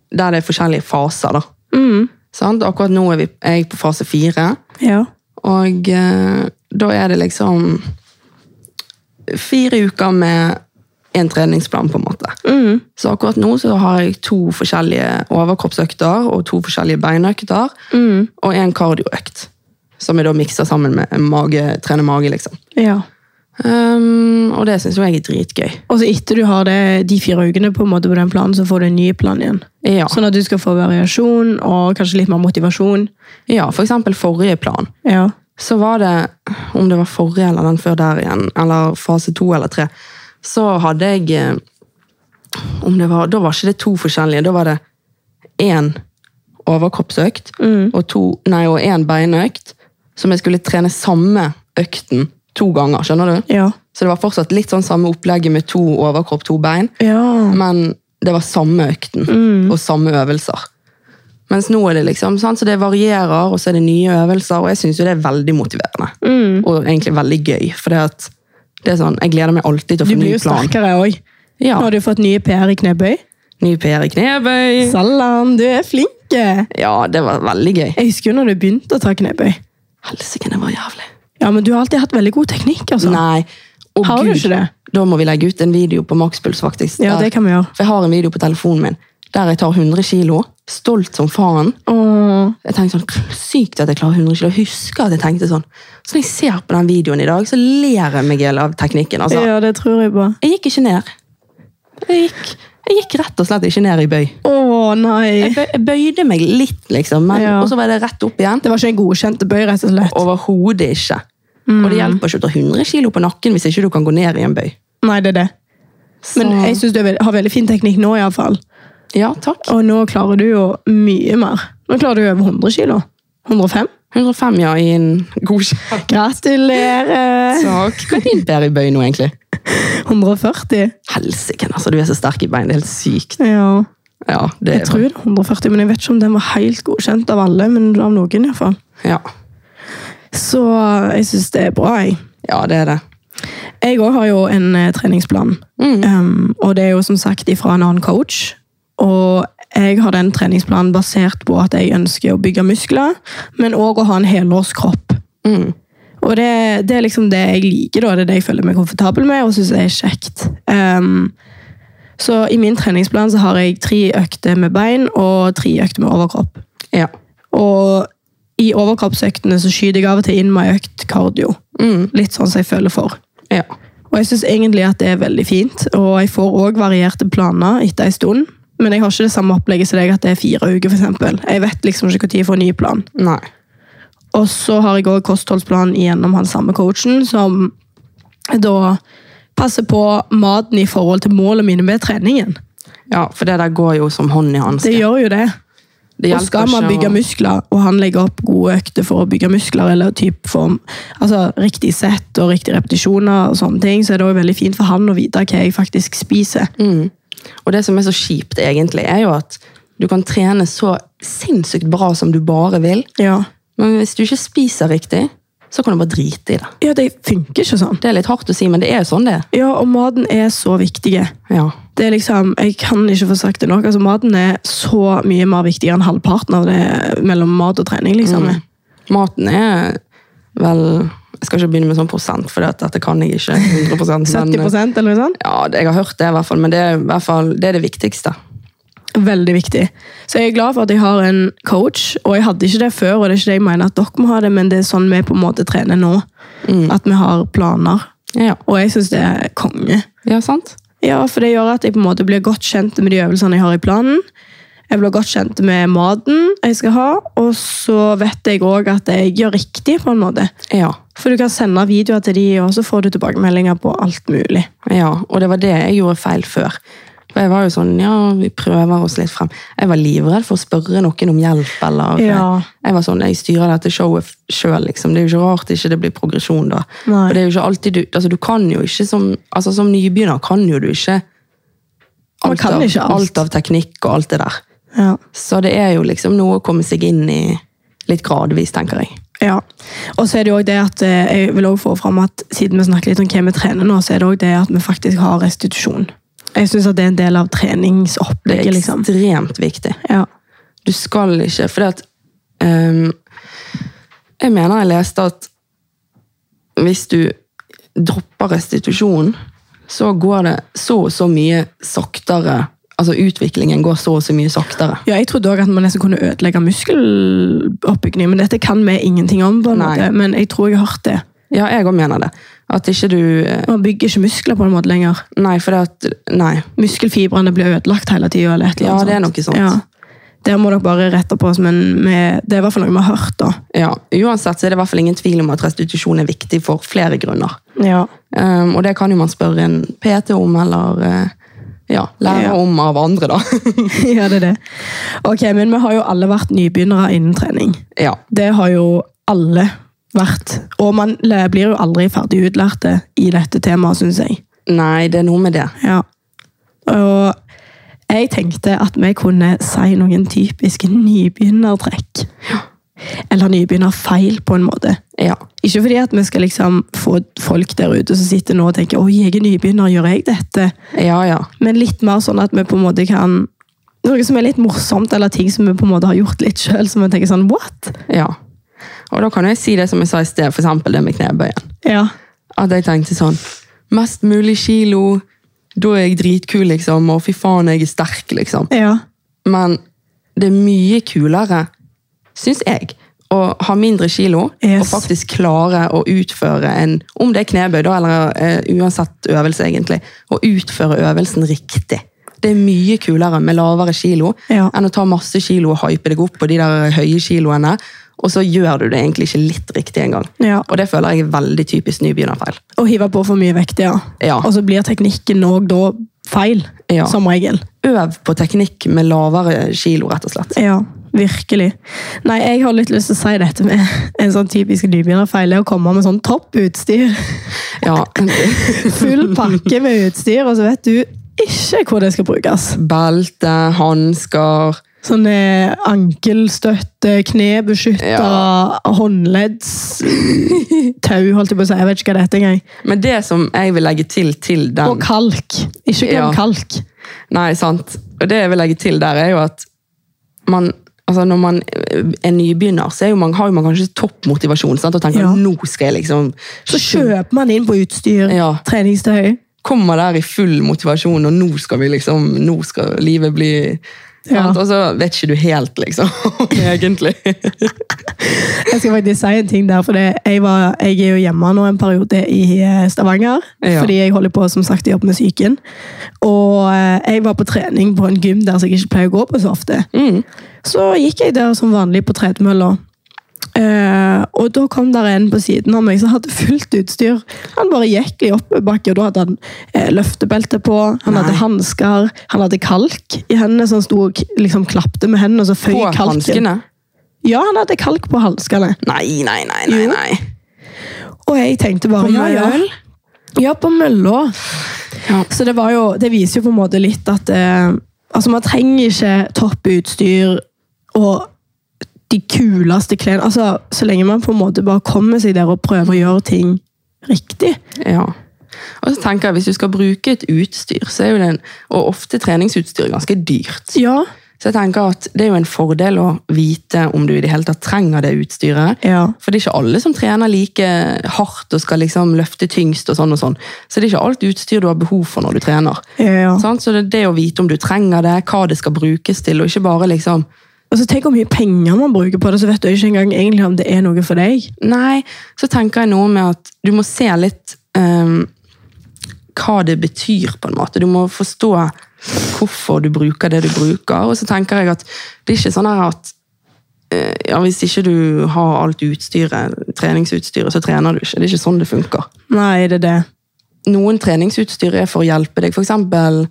Speaker 2: der det er forskjellige faser, da.
Speaker 1: Mm.
Speaker 2: Sant? Akkurat nå er vi, er jeg på fase fire.
Speaker 1: Ja.
Speaker 2: Og eh, da er det liksom fire uker med en treningsplan, på en måte. Så akkurat nå så har jeg to forskjellige overkroppsøkter og to forskjellige beinøkter. Og en kardioøkt, som jeg da mikser sammen med mage, trene mage, liksom.
Speaker 1: ja.
Speaker 2: Ehm, og det syns jo jeg er dritgøy.
Speaker 1: Og så etter du har det, de fire ukene på, en måte på den planen, så får du en ny plan igjen.
Speaker 2: Ja.
Speaker 1: Sånn at du skal få variasjon og kanskje litt mer motivasjon.
Speaker 2: ja, for eksempel forrige plan.
Speaker 1: Ja.
Speaker 2: så var det, om det var forrige eller den før der igjen, eller fase to eller tre, så hadde jeg eh, om det var, Da var ikke det to forskjellige. Da var det én overkroppsøkt og to, nei, og én beinøkt som jeg skulle trene samme økten to ganger. skjønner du?
Speaker 1: Ja.
Speaker 2: Så det var fortsatt litt sånn samme opplegget med to overkropp, to bein,
Speaker 1: Ja.
Speaker 2: men det var samme økten
Speaker 1: Mm.
Speaker 2: og samme øvelser. Mens nå er det liksom, sant? så det varierer, og så er det nye øvelser, og jeg syns jo det er veldig motiverende.
Speaker 1: Mm.
Speaker 2: Og egentlig veldig gøy, for det at det er sånn, jeg gleder meg alltid til å
Speaker 1: Du
Speaker 2: få ny
Speaker 1: blir jo
Speaker 2: plan.
Speaker 1: sterkere òg.
Speaker 2: Ja,
Speaker 1: Nå har du fått nye PR i knebøy.
Speaker 2: Ny PR i knebøy.
Speaker 1: Salam, du er flink! Jeg
Speaker 2: Ja, det var veldig gøy.
Speaker 1: husker jo når du begynte å ta knebøy.
Speaker 2: Helsike, det var jævlig.
Speaker 1: Ja, men Du har alltid hatt veldig god teknikk. altså.
Speaker 2: Nei. Å,
Speaker 1: har du
Speaker 2: Gud.
Speaker 1: ikke det?
Speaker 2: Da må vi legge ut en video på makspuls, faktisk.
Speaker 1: Ja,
Speaker 2: der-
Speaker 1: det kan vi gjøre.
Speaker 2: For jeg har en video på telefonen min der jeg tar 100 kilo, stolt som faen.
Speaker 1: Åh,
Speaker 2: Jeg tenkte sånn, Sykt at jeg klarer 100 kilo. Jeg husker at jeg tenkte sånn. Så når jeg ser på den videoen i dag, så ler jeg meg i hjel av teknikken. altså.
Speaker 1: ja, det tror jeg på.
Speaker 2: Jeg gikk ikke ned. Jeg gikk, jeg gikk rett og slett ikke ned i bøy.
Speaker 1: Å nei!
Speaker 2: Jeg, bøy, jeg bøyde meg litt, liksom, men,
Speaker 1: Ja.
Speaker 2: og så var det rett opp igjen.
Speaker 1: Det var ikke en godkjent bøy, rett og slett.
Speaker 2: Overhodet ikke. Og det hjelper ikke å ta 100 kilo på nakken hvis ikke du kan gå ned i en bøy.
Speaker 1: Nei, det er det.
Speaker 2: Så,
Speaker 1: Men jeg syns du er veld- har veldig fin teknikk nå, iallfall.
Speaker 2: ja, takk.
Speaker 1: Og nå klarer du jo mye mer. Nå klarer du over 100 kilo. 105?
Speaker 2: 105, ja, i en god
Speaker 1: Gratulerer!
Speaker 2: sak. Hva er din bære i bøy nå, egentlig?
Speaker 1: 140?
Speaker 2: Helsike, altså, du er så sterk i bein. Det er helt sykt.
Speaker 1: Ja.
Speaker 2: Ja, det
Speaker 1: Jeg tror det er 140, men jeg vet ikke om den var helt godkjent av alle. men av noen i hvert fall.
Speaker 2: Ja.
Speaker 1: Så jeg syns det er bra, jeg.
Speaker 2: ja, det er det.
Speaker 1: Jeg òg har jo en eh, treningsplan. Um, og det er jo som sagt ifra en annen coach. Og jeg har den treningsplanen basert på at jeg ønsker å bygge muskler, men òg å ha en helårskropp.
Speaker 2: Mm.
Speaker 1: Og det, det er liksom det jeg liker, da. det er det jeg føler meg komfortabel med og syns er kjekt. Um, så i min treningsplan så har jeg tre økter med bein og tre økter med overkropp.
Speaker 2: Ja.
Speaker 1: Og i overkroppsøktene så skyter jeg av og til inn med ei økt kardio. Litt sånn som jeg føler for.
Speaker 2: Mm, Ja.
Speaker 1: Og jeg syns egentlig at det er veldig fint, og jeg får òg varierte planer etter en stund. Men jeg har ikke det samme opplegget som deg, at det er fire uker. For eksempel. jeg vet liksom ikke når jeg får ny plan.
Speaker 2: Nei.
Speaker 1: Og så har jeg òg kostholdsplan gjennom han samme coachen, som da passer på maten i forhold til målene mine med treningen.
Speaker 2: Ja, for det der går jo som hånd i hanske.
Speaker 1: Det gjør jo det.
Speaker 2: Det
Speaker 1: Og
Speaker 2: hjelper
Speaker 1: skal man
Speaker 2: ikke å-
Speaker 1: bygge muskler, og han legger opp gode økter for å bygge muskler, eller typ form, altså riktig sett og riktige repetisjoner, og sånne ting, så er det også veldig fint for han å vite hva jeg faktisk spiser.
Speaker 2: Mm. Og det som er så kjipt, egentlig, er jo at du kan trene så sinnssykt bra som du bare vil,
Speaker 1: Ja.
Speaker 2: men hvis du ikke spiser riktig, så kan du bare drite i det.
Speaker 1: ja, det funker ikke sånn.
Speaker 2: Det er litt hardt å si, men det er jo sånn det er.
Speaker 1: Ja, og maten er så viktig.
Speaker 2: Ja.
Speaker 1: Det er liksom, jeg kan ikke få sagt det nok. Altså, maten er så mye mer viktigere enn halvparten av det mellom mat og trening. liksom.
Speaker 2: Maten er vel Jeg skal ikke begynne med sånn prosent, for det at dette kan jeg ikke 100 men
Speaker 1: 70 eller noe sånt.
Speaker 2: ja, det- jeg har hørt det, i hvert fall, men det er, i hvert fall, det, er det viktigste.
Speaker 1: Veldig viktig. Så jeg er glad for at jeg har en coach, og jeg hadde ikke det før, og det er ikke det jeg mener at dere må ha det, men det er sånn vi på en måte trener nå. At vi har planer.
Speaker 2: Ja,
Speaker 1: Og jeg syns det er konge.
Speaker 2: ja sant?
Speaker 1: Ja, for det gjør at jeg på en måte blir godt kjent med de øvelsene jeg har i planen. Jeg blir godt kjent med maten jeg skal ha, og så vet jeg òg at jeg gjør riktig, på en måte.
Speaker 2: Ja.
Speaker 1: For du kan sende videoer til de, og så får du tilbakemeldinger på alt mulig.
Speaker 2: Ja, og det var det jeg gjorde feil før. For jeg var jo sånn, ja, vi prøver oss litt frem. Jeg var livredd for å spørre noen om hjelp, eller...
Speaker 1: Ja.
Speaker 2: Jeg var sånn, jeg styrer dette showet selv, liksom. Det er jo ikke rart ikke det blir progresjon da.
Speaker 1: Nei.
Speaker 2: For det er jo ikke alltid du... Altså, du kan jo ikke som... Altså, som nybegynner kan jo du ikke...
Speaker 1: Man kan
Speaker 2: av,
Speaker 1: ikke alt.
Speaker 2: alt av teknikk og alt det der.
Speaker 1: Ja.
Speaker 2: Så det er jo liksom noe å komme seg inn i litt gradvis, tenker jeg.
Speaker 1: Ja. Og så er det jo også det at eh, jeg vil også få fram at siden vi snakker litt om hva vi trener nå, så er det også det at vi faktisk har restitusjon. Jeg syns det er en del av
Speaker 2: Det er
Speaker 1: treningsopplegget, liksom.
Speaker 2: ekstremt viktig.
Speaker 1: Ja.
Speaker 2: du skal ikke For det at ehm, Jeg mener jeg leste at hvis du dropper restitusjon, så går det så og så mye saktere Altså utviklingen går så og så mye saktere.
Speaker 1: Ja, jeg trodde også at man nesten kunne ødelegge muskeloppbygging, men dette kan vi ingenting om. på en
Speaker 2: Nei.
Speaker 1: måte, Men jeg tror jeg har hørt det.
Speaker 2: Ja, jeg òg mener det. At ikke du eh,
Speaker 1: Man bygger ikke muskler på en måte lenger.
Speaker 2: Nei, for det at Nei.
Speaker 1: Muskelfibrene blir ødelagt hele tida. eller et eller
Speaker 2: Ja,
Speaker 1: annet
Speaker 2: det er
Speaker 1: sånt.
Speaker 2: noe sånt.
Speaker 1: Ja. Der må dere bare rette på oss, men vi- det er i hvert fall noe vi har hørt. da.
Speaker 2: Ja, Uansett så er det i hvert fall ingen tvil om at restitusjon er viktig for flere grunner.
Speaker 1: Ja.
Speaker 2: Um, og det kan jo man spørre en PT om, eller eh, ja, lære
Speaker 1: Ja.
Speaker 2: om av andre, da.
Speaker 1: det er det. Ok, Men vi har jo alle vært nybegynnere innen trening.
Speaker 2: ja.
Speaker 1: Det har jo alle vært. Og man le- blir jo aldri ferdig utlærte i dette temaet, syns jeg.
Speaker 2: Nei, det er noe med det.
Speaker 1: Ja. Og jeg tenkte at vi kunne si noen typiske nybegynnertrekk. Eller nybegynnerfeil, på en måte.
Speaker 2: Ja.
Speaker 1: Ikke fordi at vi skal liksom få folk der ute som sitter nå og tenker «Oi, jeg er nybegynner, gjør jeg dette?»
Speaker 2: Ja, ja.
Speaker 1: Men litt mer sånn at vi på en måte kan Noe som er litt morsomt, eller ting som vi på en måte har gjort litt selv, som vi tenker sånn «What?»
Speaker 2: ja. Og da kan jeg si det som jeg sa i sted, for eksempel det med knebøyen.
Speaker 1: Ja,
Speaker 2: At jeg tenkte sånn Mest mulig kilo, da er jeg dritkul, liksom, og fy faen, jeg er sterk, liksom.
Speaker 1: ja,
Speaker 2: Men det er mye kulere, syns jeg, å ha mindre kilo
Speaker 1: Yes.
Speaker 2: og faktisk klare å utføre en Om det er knebøy, da, eller eh, uansett øvelse, egentlig. Å utføre øvelsen riktig. Det er mye kulere med lavere kilo
Speaker 1: Ja.
Speaker 2: enn å ta masse kilo og hype deg opp på de der høye kiloene, og så gjør du det egentlig ikke litt riktig engang.
Speaker 1: ja.
Speaker 2: Og det føler jeg er veldig typisk nybegynnerfeil.
Speaker 1: Og hive på for mye vekt, ja.
Speaker 2: Ja.
Speaker 1: Og så blir teknikken òg da feil,
Speaker 2: Ja.
Speaker 1: som regel.
Speaker 2: Øv på teknikk med lavere kilo, rett og slett.
Speaker 1: Ja, virkelig. Nei, jeg har litt lyst til å si dette med en sånn typisk nybegynnerfeil, det er å komme med sånn topputstyr.
Speaker 2: Ja.
Speaker 1: Full pakke med utstyr, og så vet du ikke hvor det skal brukes.
Speaker 2: Belte, hansker
Speaker 1: Sånne eh, ankelstøtte, knebeskytter,
Speaker 2: Ja.
Speaker 1: håndledds Tau, holdt jeg på å si. Jeg vet ikke hva det heter engang.
Speaker 2: Men det som jeg vil legge til til den
Speaker 1: Og kalk. Ikke glem
Speaker 2: Ja.
Speaker 1: kalk.
Speaker 2: Nei, sant. Og det jeg vil legge til der, er jo at man Altså Når man er nybegynner, så er jo man, har jo man kanskje topp motivasjon. sant? Og tenker
Speaker 1: Ja.
Speaker 2: nå skal jeg liksom
Speaker 1: Så kjøper man inn på utstyr,
Speaker 2: Ja.
Speaker 1: treningstøy.
Speaker 2: Kommer der i full motivasjon, og nå skal vi liksom Nå skal livet bli
Speaker 1: Ja.
Speaker 2: sant? Og så vet ikke du helt, liksom. Egentlig.
Speaker 1: Jeg skal faktisk si en ting der, for det, jeg, var, jeg er jo hjemme nå en periode i eh, Stavanger,
Speaker 2: Ja.
Speaker 1: fordi jeg holder på som sagt å jobbe med psyken. Og eh, jeg var på trening på en gym der som jeg ikke pleier å gå på så ofte.
Speaker 2: Mm.
Speaker 1: Så gikk jeg der som vanlig på tredemølla. Eh, og da kom der en på siden av meg som hadde fullt utstyr. Han bare gikk i oppebakke, og da hadde han eh, løftebelte på, han
Speaker 2: Nei.
Speaker 1: hadde hansker, han hadde kalk i hendene, så han sto og liksom, klapte med hendene, og så føy
Speaker 2: På
Speaker 1: kalken.
Speaker 2: hanskene.
Speaker 1: Ja, han hadde kalk på hanskene.
Speaker 2: Nei, nei, nei, nei.
Speaker 1: Jo.
Speaker 2: nei.
Speaker 1: Og jeg tenkte bare
Speaker 2: På mølla?
Speaker 1: Ja, på mølla.
Speaker 2: Ja.
Speaker 1: Så det, var jo, det viser jo på en måte litt at eh, altså man trenger ikke topputstyr og de kuleste klærne. Altså, så lenge man på en måte bare kommer seg der og prøver å gjøre ting riktig.
Speaker 2: Ja. Og så tenker jeg, Hvis du skal bruke et utstyr, så er jo den, og ofte treningsutstyr er ganske dyrt
Speaker 1: Ja.
Speaker 2: Så jeg tenker at Det er jo en fordel å vite om du i det hele tatt trenger det utstyret.
Speaker 1: Ja.
Speaker 2: For det er ikke alle som trener like hardt og skal liksom løfte tyngst. og sånn og sånn. Så det er ikke alt utstyr du har behov for når du trener.
Speaker 1: ja.
Speaker 2: Sant? Så det er det å vite om du trenger det, hva det skal brukes til, og ikke bare liksom
Speaker 1: Og så Altså, Tenk hvor mye penger man bruker på det, så vet du ikke engang egentlig om det er noe for deg.
Speaker 2: Nei, så tenker jeg noe med at du må se litt ehm, hva det betyr, på en måte. Du må forstå hvorfor du bruker det du bruker. Og så tenker jeg at det er ikke sånn her at eh, ja, hvis ikke du har alt utstyret, treningsutstyret, så trener du ikke. Det er ikke sånn det funker.
Speaker 1: Nei, det er det.
Speaker 2: Noen treningsutstyr er for å hjelpe deg. For eksempel,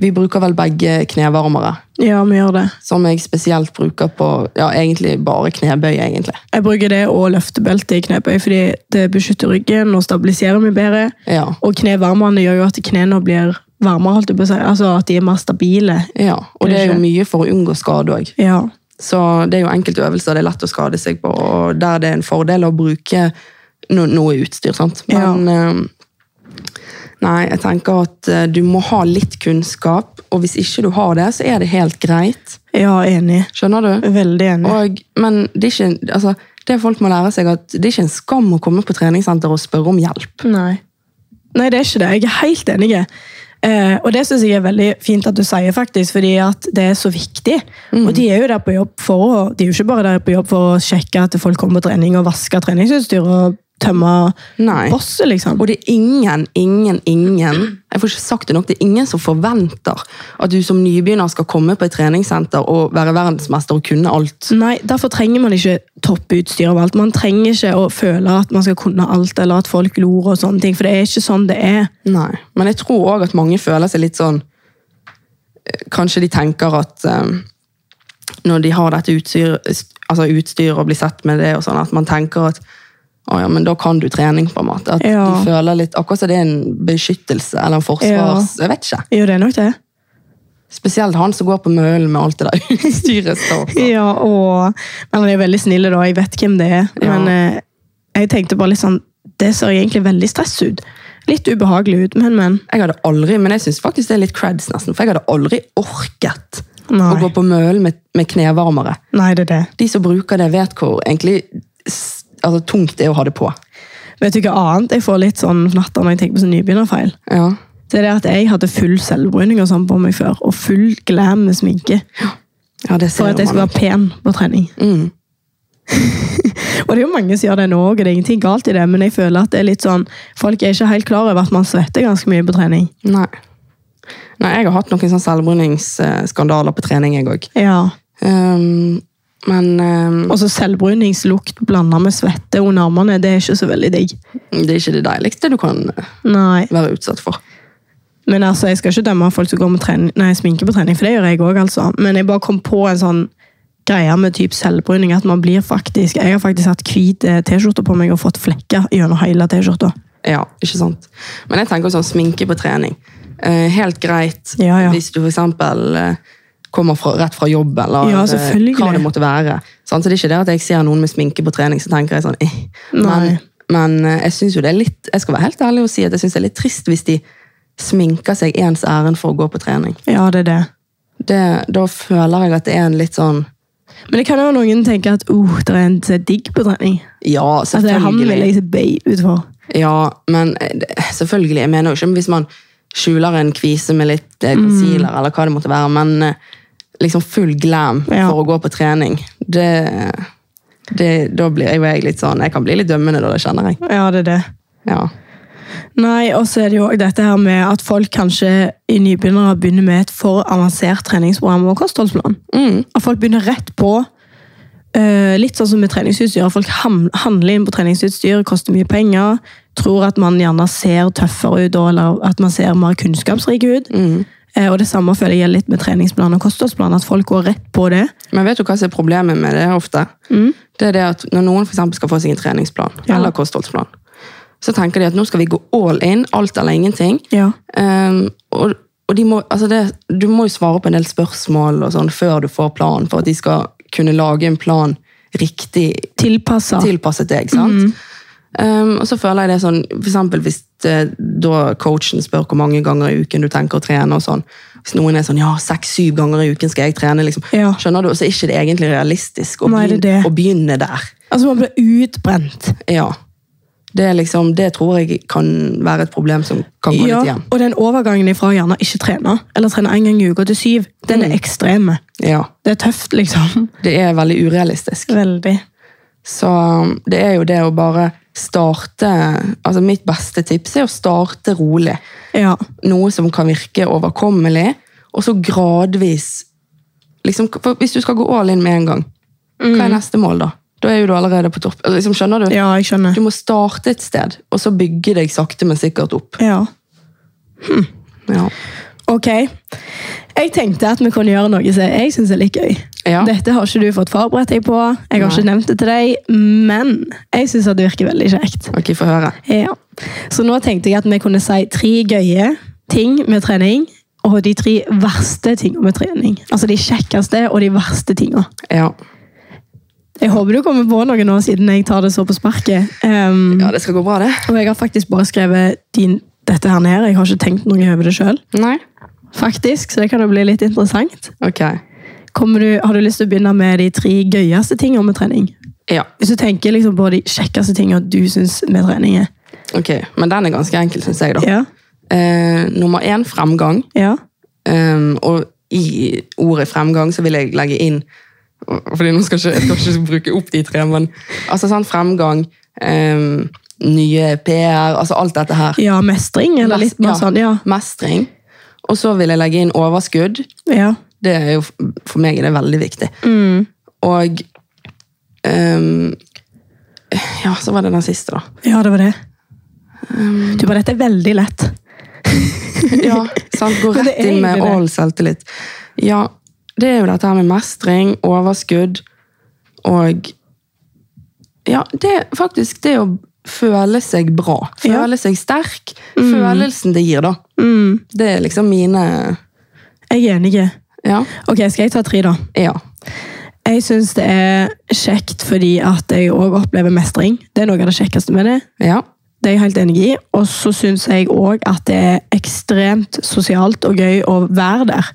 Speaker 2: vi bruker vel begge knevarmere,
Speaker 1: Ja, vi gjør det.
Speaker 2: som jeg spesielt bruker på ja, egentlig bare knebøy, egentlig.
Speaker 1: Jeg bruker det og løftebelte i knebøy, fordi det beskytter ryggen og stabiliserer meg bedre.
Speaker 2: Ja,
Speaker 1: Og knevarmene gjør jo at knærne blir varmere, holdt jeg på å si. Altså at de er mer stabile.
Speaker 2: ja. Og det er jo mye for å unngå skade òg.
Speaker 1: Ja.
Speaker 2: Så det er jo enkelte øvelser det er lett å skade seg på, og der det er en fordel å bruke no noe utstyr. sant? Men eh, nei, jeg tenker at eh, du må ha litt kunnskap, og hvis ikke du har det, så er det helt greit.
Speaker 1: Ja, enig.
Speaker 2: Skjønner du?
Speaker 1: Veldig enig.
Speaker 2: Og, men det er, ikke, altså, det folk må lære seg at det er ikke en skam å komme på treningssenter og spørre om hjelp.
Speaker 1: Nei. Nei, det er ikke det. Jeg er helt enig. Eh, og det syns jeg er veldig fint at du sier, faktisk, fordi at det er så viktig. Og de er jo der på jobb for å, de er jo ikke bare der på jobb for å sjekke at folk kommer på trening og vasker treningsutstyr og tømmer
Speaker 2: Nei.
Speaker 1: bosset, liksom.
Speaker 2: Og det er ingen, ingen, ingen jeg får ikke sagt det nok, det er ingen som forventer at du som nybegynner skal komme på et treningssenter og være verdensmester og kunne alt.
Speaker 1: Nei, derfor trenger man ikke topputstyr og alt. Man trenger ikke å føle at man skal kunne alt, eller at folk glor og sånne ting, for det er ikke sånn det er.
Speaker 2: Nei. Men jeg tror òg at mange føler seg litt sånn eh, Kanskje de tenker at eh, når de har dette utstyr, altså utstyr og blir sett med det, og sånn, at man tenker at å ja, men da kan du trening, på en måte. At
Speaker 1: Ja.
Speaker 2: de føler litt, Akkurat som det er en beskyttelse eller en forsvars... Jeg vet ikke.
Speaker 1: Jo, det er nok det.
Speaker 2: Spesielt han som går på mølen med alt det der utstyret. står på.
Speaker 1: Ja, og Men de er veldig snille, da. Jeg vet hvem det er.
Speaker 2: Ja.
Speaker 1: Men eh, jeg tenkte bare litt sånn Det ser egentlig veldig stress ut. Litt ubehagelig ut, men, men.
Speaker 2: Jeg hadde aldri, men jeg syns faktisk det er litt creds, nesten. For jeg hadde aldri orket
Speaker 1: Nei.
Speaker 2: å gå på mølen med, med knevarmere.
Speaker 1: Nei, det er det.
Speaker 2: De som bruker det, vet hvor egentlig s- altså, tungt det er å ha det på.
Speaker 1: Vet du hva annet jeg får litt sånn fnatter når jeg tenker på sånn nybegynnerfeil?
Speaker 2: Ja.
Speaker 1: Det er det at jeg hadde full selvbruning og sånn på meg før, og full glam med sminke.
Speaker 2: Ja, det ser
Speaker 1: For at jeg skulle
Speaker 2: man.
Speaker 1: være pen på trening.
Speaker 2: Mm.
Speaker 1: Og det er jo mange som gjør det nå òg, og det er ingenting galt i det, men jeg føler at det er litt sånn Folk er ikke helt klar over at man svetter ganske mye på trening.
Speaker 2: Nei. Nei, jeg har hatt noen sånn selvbruningsskandaler på trening, jeg òg.
Speaker 1: Ja.
Speaker 2: Um, men um,
Speaker 1: Og så selvbruningslukt blanda med svette under armene, det er ikke så veldig digg.
Speaker 2: det er ikke det deiligste du kan eh,
Speaker 1: Nei,
Speaker 2: være utsatt for.
Speaker 1: men altså, Jeg skal ikke dømme folk som går med trening, nei, sminke på trening, for det gjør jeg òg. Altså. Men jeg bare kom på en sånn greie med typ selvbruning. at man blir faktisk, Jeg har faktisk hatt hvit eh, T-skjorte på meg og fått flekker gjennom hele T-skjorta.
Speaker 2: Ja, ikke sant? Men jeg tenker sånn sminke på trening. Eh, helt greit
Speaker 1: Ja, ja.
Speaker 2: hvis du for eksempel eh, kommer fra, rett fra jobb, eller
Speaker 1: Ja,
Speaker 2: eh,
Speaker 1: selvfølgelig.
Speaker 2: hva det måtte være. Sant? Så det er ikke det at jeg ser noen med sminke på trening, så tenker jeg sånn eh. Men,
Speaker 1: Nei.
Speaker 2: men eh, jeg synes jo det er litt, jeg skal være helt ærlig og si at jeg synes det er litt trist hvis de sminker seg ens ærend for å gå på trening.
Speaker 1: Ja, det er det.
Speaker 2: Det, da føler jeg at det er en litt sånn
Speaker 1: Men det kan jo noen tenke at uh, det er en som er digg på trening.
Speaker 2: ja,
Speaker 1: At det er han vil
Speaker 2: selvfølgelig.
Speaker 1: jeg se bay ut for.
Speaker 2: Ja, men eh, det- selvfølgelig. Jeg mener jo ikke men hvis man skjuler en kvise med litt
Speaker 1: Mm.
Speaker 2: eh, concealer, eller hva det måtte være, men eh, liksom full glam
Speaker 1: Ja.
Speaker 2: for å gå på trening, det, det Da blir jeg, jo jeg litt sånn Jeg kan bli litt dømmende da, det kjenner jeg.
Speaker 1: Ja, det er det.
Speaker 2: Ja.
Speaker 1: Nei, og så er det jo også dette her med at folk kanskje i nybegynnere begynner med et for avansert treningsprogram og kostholdsplan.
Speaker 2: Mm.
Speaker 1: At folk begynner rett på eh, litt sånn som med treningsutstyr. at Folk ham- handler inn på treningsutstyr, koster mye penger, tror at man gjerne ser tøffere ut, og- eller at man ser mer kunnskapsrik ut. Eh, og det samme føler jeg litt med treningsplan og kostholdsplan, at folk går rett på det.
Speaker 2: Men vet du hva som er problemet med det ofte? Det er det at når noen for eksempel skal få seg en treningsplan,
Speaker 1: Mm. Ja.
Speaker 2: eller kostholdsplan, så tenker de at nå skal vi gå all in, alt eller ingenting.
Speaker 1: Ja.
Speaker 2: Ehm, og og de må, altså det, du må jo svare på en del spørsmål og sånn før du får planen, for at de skal kunne lage en plan riktig
Speaker 1: Tilpassa.
Speaker 2: tilpasset deg. sant?
Speaker 1: Mhm.
Speaker 2: Ehm, og så føler jeg det sånn, for eksempel hvis eh, da coachen spør hvor mange ganger i uken du tenker å trene, og sånn, hvis noen er sånn ja, seks-syv ganger i uken skal jeg trene, liksom,
Speaker 1: Ja.
Speaker 2: skjønner du, så er ikke det egentlig realistisk å,
Speaker 1: Nei, det er
Speaker 2: begynne,
Speaker 1: det.
Speaker 2: å begynne der.
Speaker 1: altså, man blir utbrent.
Speaker 2: Ja. Det, er liksom, det tror jeg kan være et problem som kan gå litt
Speaker 1: Ja,
Speaker 2: igjen.
Speaker 1: og den overgangen ifra å gjerne ikke trene, eller trene én gang i uka til syv, den
Speaker 2: Mm.
Speaker 1: er ekstreme.
Speaker 2: Ja.
Speaker 1: Det er tøft, liksom.
Speaker 2: Det er veldig urealistisk.
Speaker 1: Veldig.
Speaker 2: Så um, det er jo det å bare starte Altså mitt beste tips er å starte rolig.
Speaker 1: Ja.
Speaker 2: Noe som kan virke overkommelig, og så gradvis liksom, for Hvis du skal gå all in med en gang, hva er neste mål da? Da er jo du allerede på topp. Eller Liksom, skjønner du?
Speaker 1: Mm. ja, jeg skjønner.
Speaker 2: Du må starte et sted, og så bygge deg sakte, men sikkert opp.
Speaker 1: Ja.
Speaker 2: Ja.
Speaker 1: Ok. Jeg tenkte at vi kunne gjøre noe som jeg syns er litt gøy.
Speaker 2: Ja.
Speaker 1: Dette har ikke du fått forberedt deg på, jeg har ikke nevnt det til deg, men jeg syns det virker veldig kjekt.
Speaker 2: Ok, få høre.
Speaker 1: Ja. Så nå tenkte jeg at vi kunne si tre gøye ting med trening, og de tre verste tingene med trening. Altså de kjekkeste og de verste tingene.
Speaker 2: Ja.
Speaker 1: Jeg håper du kommer på noe nå, siden jeg tar det så på sparket. Ehm,
Speaker 2: ja, det skal gå bra, det.
Speaker 1: Og jeg har faktisk bare skrevet din, dette her ned. Jeg har ikke tenkt noe over det sjøl.
Speaker 2: Nei?
Speaker 1: Faktisk, så det kan jo bli litt interessant.
Speaker 2: Ok.
Speaker 1: Kommer du, har du lyst til å begynne med de tre gøyeste tingene med trening?
Speaker 2: Ja,
Speaker 1: Hvis du tenker liksom på de kjekkeste tingene du syns med trening er.
Speaker 2: ok. Men den er ganske enkel, syns jeg. da.
Speaker 1: Ja.
Speaker 2: Eh, nummer én fremgang.
Speaker 1: Ja.
Speaker 2: Um, og i ordet fremgang så vil jeg legge inn fordi nå skal ikke, jeg skal ikke bruke opp de tre, men altså sånn fremgang, um, nye PR, altså alt dette her.
Speaker 1: ja, mestring, eller litt mer
Speaker 2: Ja,
Speaker 1: sånn. Ja.
Speaker 2: Mestring. Og så vil jeg legge inn overskudd.
Speaker 1: ja.
Speaker 2: Det er jo, for meg er det veldig viktig. Og um, Ja, så var det den siste, da.
Speaker 1: Ja, det var det.
Speaker 2: Ehm.
Speaker 1: Du bare, dette er veldig lett.
Speaker 2: Ja, sant? Gå
Speaker 1: Men det
Speaker 2: rett
Speaker 1: er
Speaker 2: inn med
Speaker 1: egentlig det.
Speaker 2: all selvtillit. Ja, det er jo dette her med mestring, overskudd og Ja, det er faktisk det å føle seg bra.
Speaker 1: Ja. Mm.
Speaker 2: Føle seg sterk. Følelsen det gir, da. Det er liksom mine
Speaker 1: Jeg er enig.
Speaker 2: Ja.
Speaker 1: Ok, skal jeg ta tre da?
Speaker 2: ja.
Speaker 1: Jeg synes det er kjekt fordi at jeg også opplever mestring. Det er noe av det kjekkeste med det.
Speaker 2: ja.
Speaker 1: Det er jeg helt enig i. Og så synes jeg også at det er ekstremt sosialt og gøy å være der.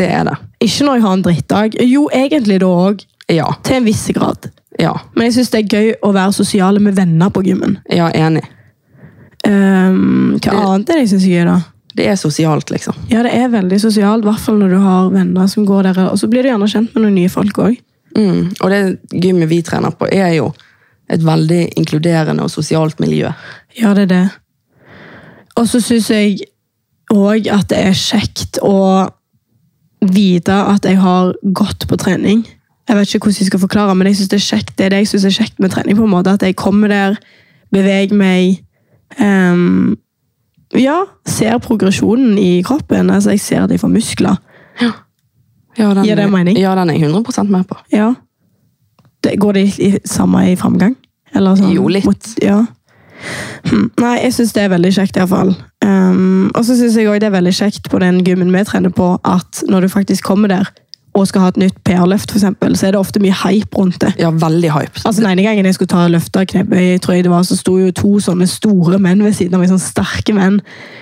Speaker 2: Det er det.
Speaker 1: Ikke når jeg har en drittdag. Jo, egentlig da også.
Speaker 2: Ja.
Speaker 1: Til en viss grad.
Speaker 2: Ja.
Speaker 1: Men jeg synes det er gøy å være sosiale med venner på gymmen.
Speaker 2: Ja, enig.
Speaker 1: Ehm, hva annet er det jeg synes er gøy da?
Speaker 2: Det er sosialt, liksom.
Speaker 1: Ja, det er veldig sosialt, i hvert fall når du har venner som går der. Og så blir du gjerne kjent med noen nye folk òg.
Speaker 2: Mm. Og det gymmet vi trener på, er jo et veldig inkluderende og sosialt miljø.
Speaker 1: Ja, det er det. Og så syns jeg òg at det er kjekt å vite at jeg har gått på trening. Jeg vet ikke hvordan jeg skal forklare, men jeg synes det er kjekt. Det er det jeg synes er kjekt med trening. på en måte, At jeg kommer der, beveger meg ehm, Ja, ser progresjonen i kroppen. altså Jeg ser at jeg får muskler.
Speaker 2: Ja, den,
Speaker 1: Gir det mening?
Speaker 2: Ja, den er jeg 100 med på.
Speaker 1: Ja. Det, går det i, i, samme i framgang? Eller sånn,
Speaker 2: Jo, litt.
Speaker 1: mot- ja. Hm, Nei, jeg syns det er veldig kjekt, iallfall. Um, og så syns jeg òg det er veldig kjekt på den gymmen vi trener på, at når du faktisk kommer der og skal ha et nytt PR-løft, for eksempel, så er det ofte mye hype rundt det.
Speaker 2: Ja, veldig hyped.
Speaker 1: Altså, Den ene gangen jeg skulle ta løfte av knebøy, tror jeg det var, så sto jo to sånne store menn ved siden av meg, sånne sterke menn,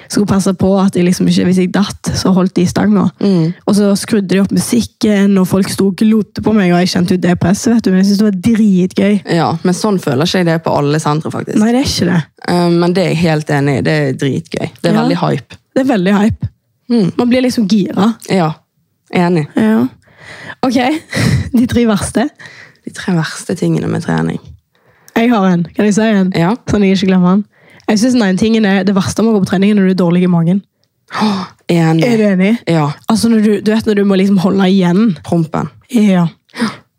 Speaker 1: som skulle passe på at jeg liksom ikke, hvis jeg datt, så holdt de i stanga. Og så skrudde de opp musikken, og folk sto og glodde på meg, og jeg kjente jo det presset, vet du, men jeg synes det var dritgøy.
Speaker 2: Ja, men sånn føler ikke jeg det på alle sentre, faktisk.
Speaker 1: Nei, det er ikke det.
Speaker 2: Eh, men det er jeg helt enig i. Det er dritgøy. Det er
Speaker 1: Ja.
Speaker 2: veldig hype.
Speaker 1: Det er veldig hype. Man blir liksom gira.
Speaker 2: Ja, enig.
Speaker 1: Ja. Ok, de tre verste.
Speaker 2: De tre verste tingene med trening.
Speaker 1: Jeg har en, kan jeg si en?
Speaker 2: Ja.
Speaker 1: Sånn jeg ikke glemmer den. Jeg synes den ene tingen er det verste med å gå på trening er når du er dårlig i magen.
Speaker 2: Åh, enig.
Speaker 1: Er du enig?
Speaker 2: Ja.
Speaker 1: Altså, når du, du vet når du må liksom holde igjen.
Speaker 2: Prompen.
Speaker 1: Ja.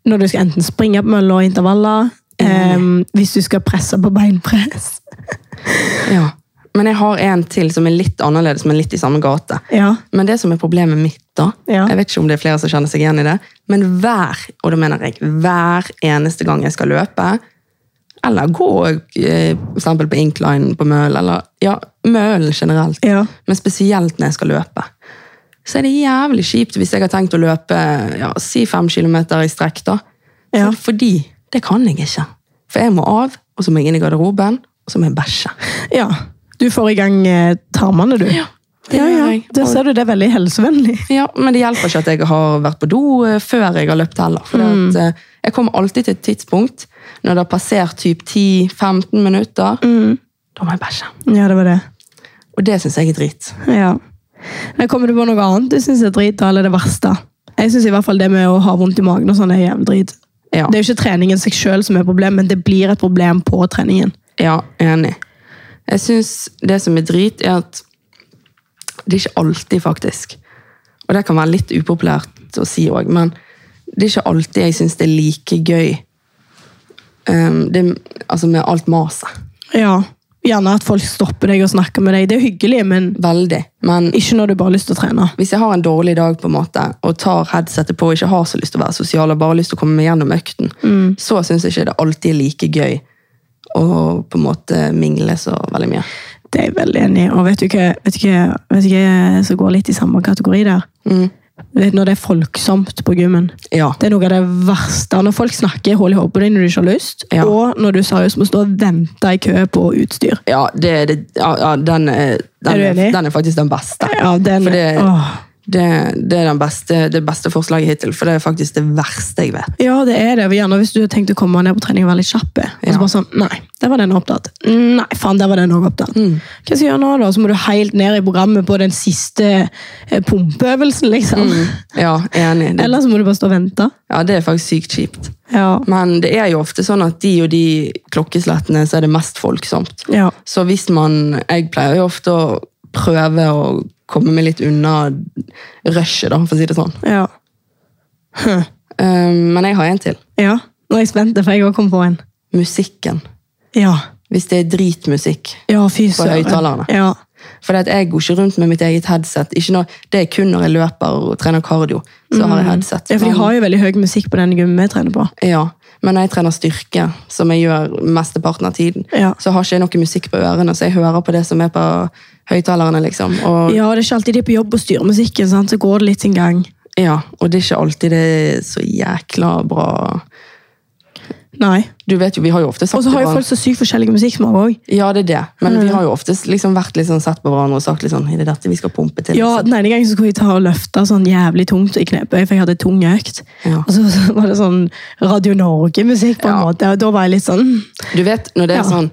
Speaker 1: Når du skal enten springe på mølla og intervaller, ehm, hvis du skal presse på beinpress.
Speaker 2: Ja. Men jeg har en til som er litt annerledes, men litt i samme gate.
Speaker 1: Ja.
Speaker 2: Men det som er problemet mitt, da
Speaker 1: Ja.
Speaker 2: Jeg vet ikke om det er flere som kjenner seg igjen i det, men hver og da mener jeg, hver eneste gang jeg skal løpe, eller gå eh, for eksempel på incline på møl, eller ja, møl generelt,
Speaker 1: Ja.
Speaker 2: men spesielt når jeg skal løpe, så er det jævlig kjipt hvis jeg har tenkt å løpe ja, si fem kilometer i strekk, da.
Speaker 1: Ja.
Speaker 2: Så, fordi det kan jeg ikke. For jeg må av, og så må jeg inn i garderoben, og så må jeg bæsje.
Speaker 1: ja. Du får i gang eh, tarmene, du. Ja,
Speaker 2: det
Speaker 1: ja,
Speaker 2: gjør jeg.
Speaker 1: Da ser du det er veldig helsevennlig.
Speaker 2: Ja, men det hjelper ikke at jeg har vært på do eh, før jeg har løpt heller. For det at, eh, jeg kommer alltid til et tidspunkt når det har passert typ 10-15 minutter, da må jeg bæsje.
Speaker 1: Ja, det var det.
Speaker 2: Og det syns jeg er drit.
Speaker 1: Ja. Men kommer du på noe annet du syns er drit, da, eller det verste? Jeg synes i hvert fall det med å ha vondt i magen og sånn er jævlig drit.
Speaker 2: Ja,
Speaker 1: Det er jo ikke treningen seg selv som er problemet, men det blir et problem på treningen.
Speaker 2: ja enig. Jeg syns det som er drit, er at det er ikke alltid, faktisk. Og det kan være litt upopulært å si òg, men det er ikke alltid jeg syns det er like gøy eh, det, altså med alt maset.
Speaker 1: Ja. Gjerne at folk stopper deg og snakker med deg. Det er hyggelig, men
Speaker 2: Veldig. Men
Speaker 1: ikke når du bare har lyst til å trene.
Speaker 2: hvis jeg har en dårlig dag på en måte, og tar headsetet på og ikke har så lyst til å være sosial, og bare lyst til å komme meg gjennom økten,
Speaker 1: Mm.
Speaker 2: så syns jeg ikke det alltid er like gøy å på en måte mingle så veldig mye.
Speaker 1: Det er jeg veldig enig i. Og vet du hva, vet du hva, vet du hva som går litt i samme kategori der?
Speaker 2: Mm.
Speaker 1: Du Vet Når det er folksomt på gymmen.
Speaker 2: Ja.
Speaker 1: Det er noe av det verste. Når folk snakker hull i hodet på deg når du ikke har lyst,
Speaker 2: Ja.
Speaker 1: og når du seriøst må stå og vente i kø på utstyr.
Speaker 2: Ja, det, det, ja, ja den, er- den,
Speaker 1: Er du
Speaker 2: er-
Speaker 1: enig?
Speaker 2: den er faktisk den beste.
Speaker 1: Ja, den,
Speaker 2: For det,
Speaker 1: åh.
Speaker 2: Det, det er den beste, det beste forslaget hittil, for det er faktisk det verste jeg vet.
Speaker 1: Ja, det er det. Gjerne hvis du har tenkt å komme ned på trening og være litt kjapp. Og
Speaker 2: Ja.
Speaker 1: så bare sånn, nei, der var den opptatt. Nei, faen, der var den også opptatt.
Speaker 2: Mm.
Speaker 1: Hva skal jeg gjøre nå da? Så må du helt ned i programmet på den siste eh, pumpeøvelsen, liksom.
Speaker 2: Mm. Ja, enig. Det,
Speaker 1: Eller så må du bare stå og vente.
Speaker 2: ja, det er faktisk sykt kjipt.
Speaker 1: Ja.
Speaker 2: Men det er jo ofte sånn at de og de klokkeslettene så er det mest folksomt.
Speaker 1: Ja.
Speaker 2: Så hvis man Jeg pleier jo ofte å prøve å komme meg litt unna rushet, da, for å si det sånn.
Speaker 1: Ja.
Speaker 2: Um, men jeg har en til.
Speaker 1: ja. Nå er jeg spent, for jeg også kom på en.
Speaker 2: Musikken.
Speaker 1: Ja.
Speaker 2: Hvis det er dritmusikk.
Speaker 1: Ja, fy
Speaker 2: På
Speaker 1: søren.
Speaker 2: høyttalerne.
Speaker 1: Ja.
Speaker 2: For jeg går ikke rundt med mitt eget headset. Ikke når, det er kun når jeg løper og trener kardio. så har jeg headset.
Speaker 1: Mm. ja, for de
Speaker 2: Men-
Speaker 1: har jo veldig høy musikk på den gymmen vi trener på.
Speaker 2: ja, men når jeg trener styrke, som jeg gjør mesteparten av tiden,
Speaker 1: Ja.
Speaker 2: så har ikke jeg noe musikk på ørene, så jeg hører på det som er på høyttalerne. liksom. Og
Speaker 1: Ja, det er ikke alltid de er på jobb og styrer musikken, sant? så går det litt sin gang.
Speaker 2: Ja, og det er ikke alltid det er så jækla bra
Speaker 1: Nei.
Speaker 2: Du vet jo, vi har jo ofte sagt
Speaker 1: Og så har
Speaker 2: det
Speaker 1: jo
Speaker 2: bra.
Speaker 1: folk så sykt forskjellige musikksmak òg.
Speaker 2: Ja, det er det. Men vi har jo ofte liksom vært litt sånn sett på hverandre og sagt litt sånn, er det dette vi skal pumpe til?
Speaker 1: Ja,
Speaker 2: liksom?
Speaker 1: den ene gangen så skulle jeg ta og løfte sånn jævlig tungt i knebøy, for jeg hadde tung økt.
Speaker 2: Ja.
Speaker 1: Og så, så var det sånn Radio Norge-musikk på en
Speaker 2: Ja.
Speaker 1: måte, og da var jeg litt sånn
Speaker 2: Du vet, når det er
Speaker 1: Ja.
Speaker 2: sånn,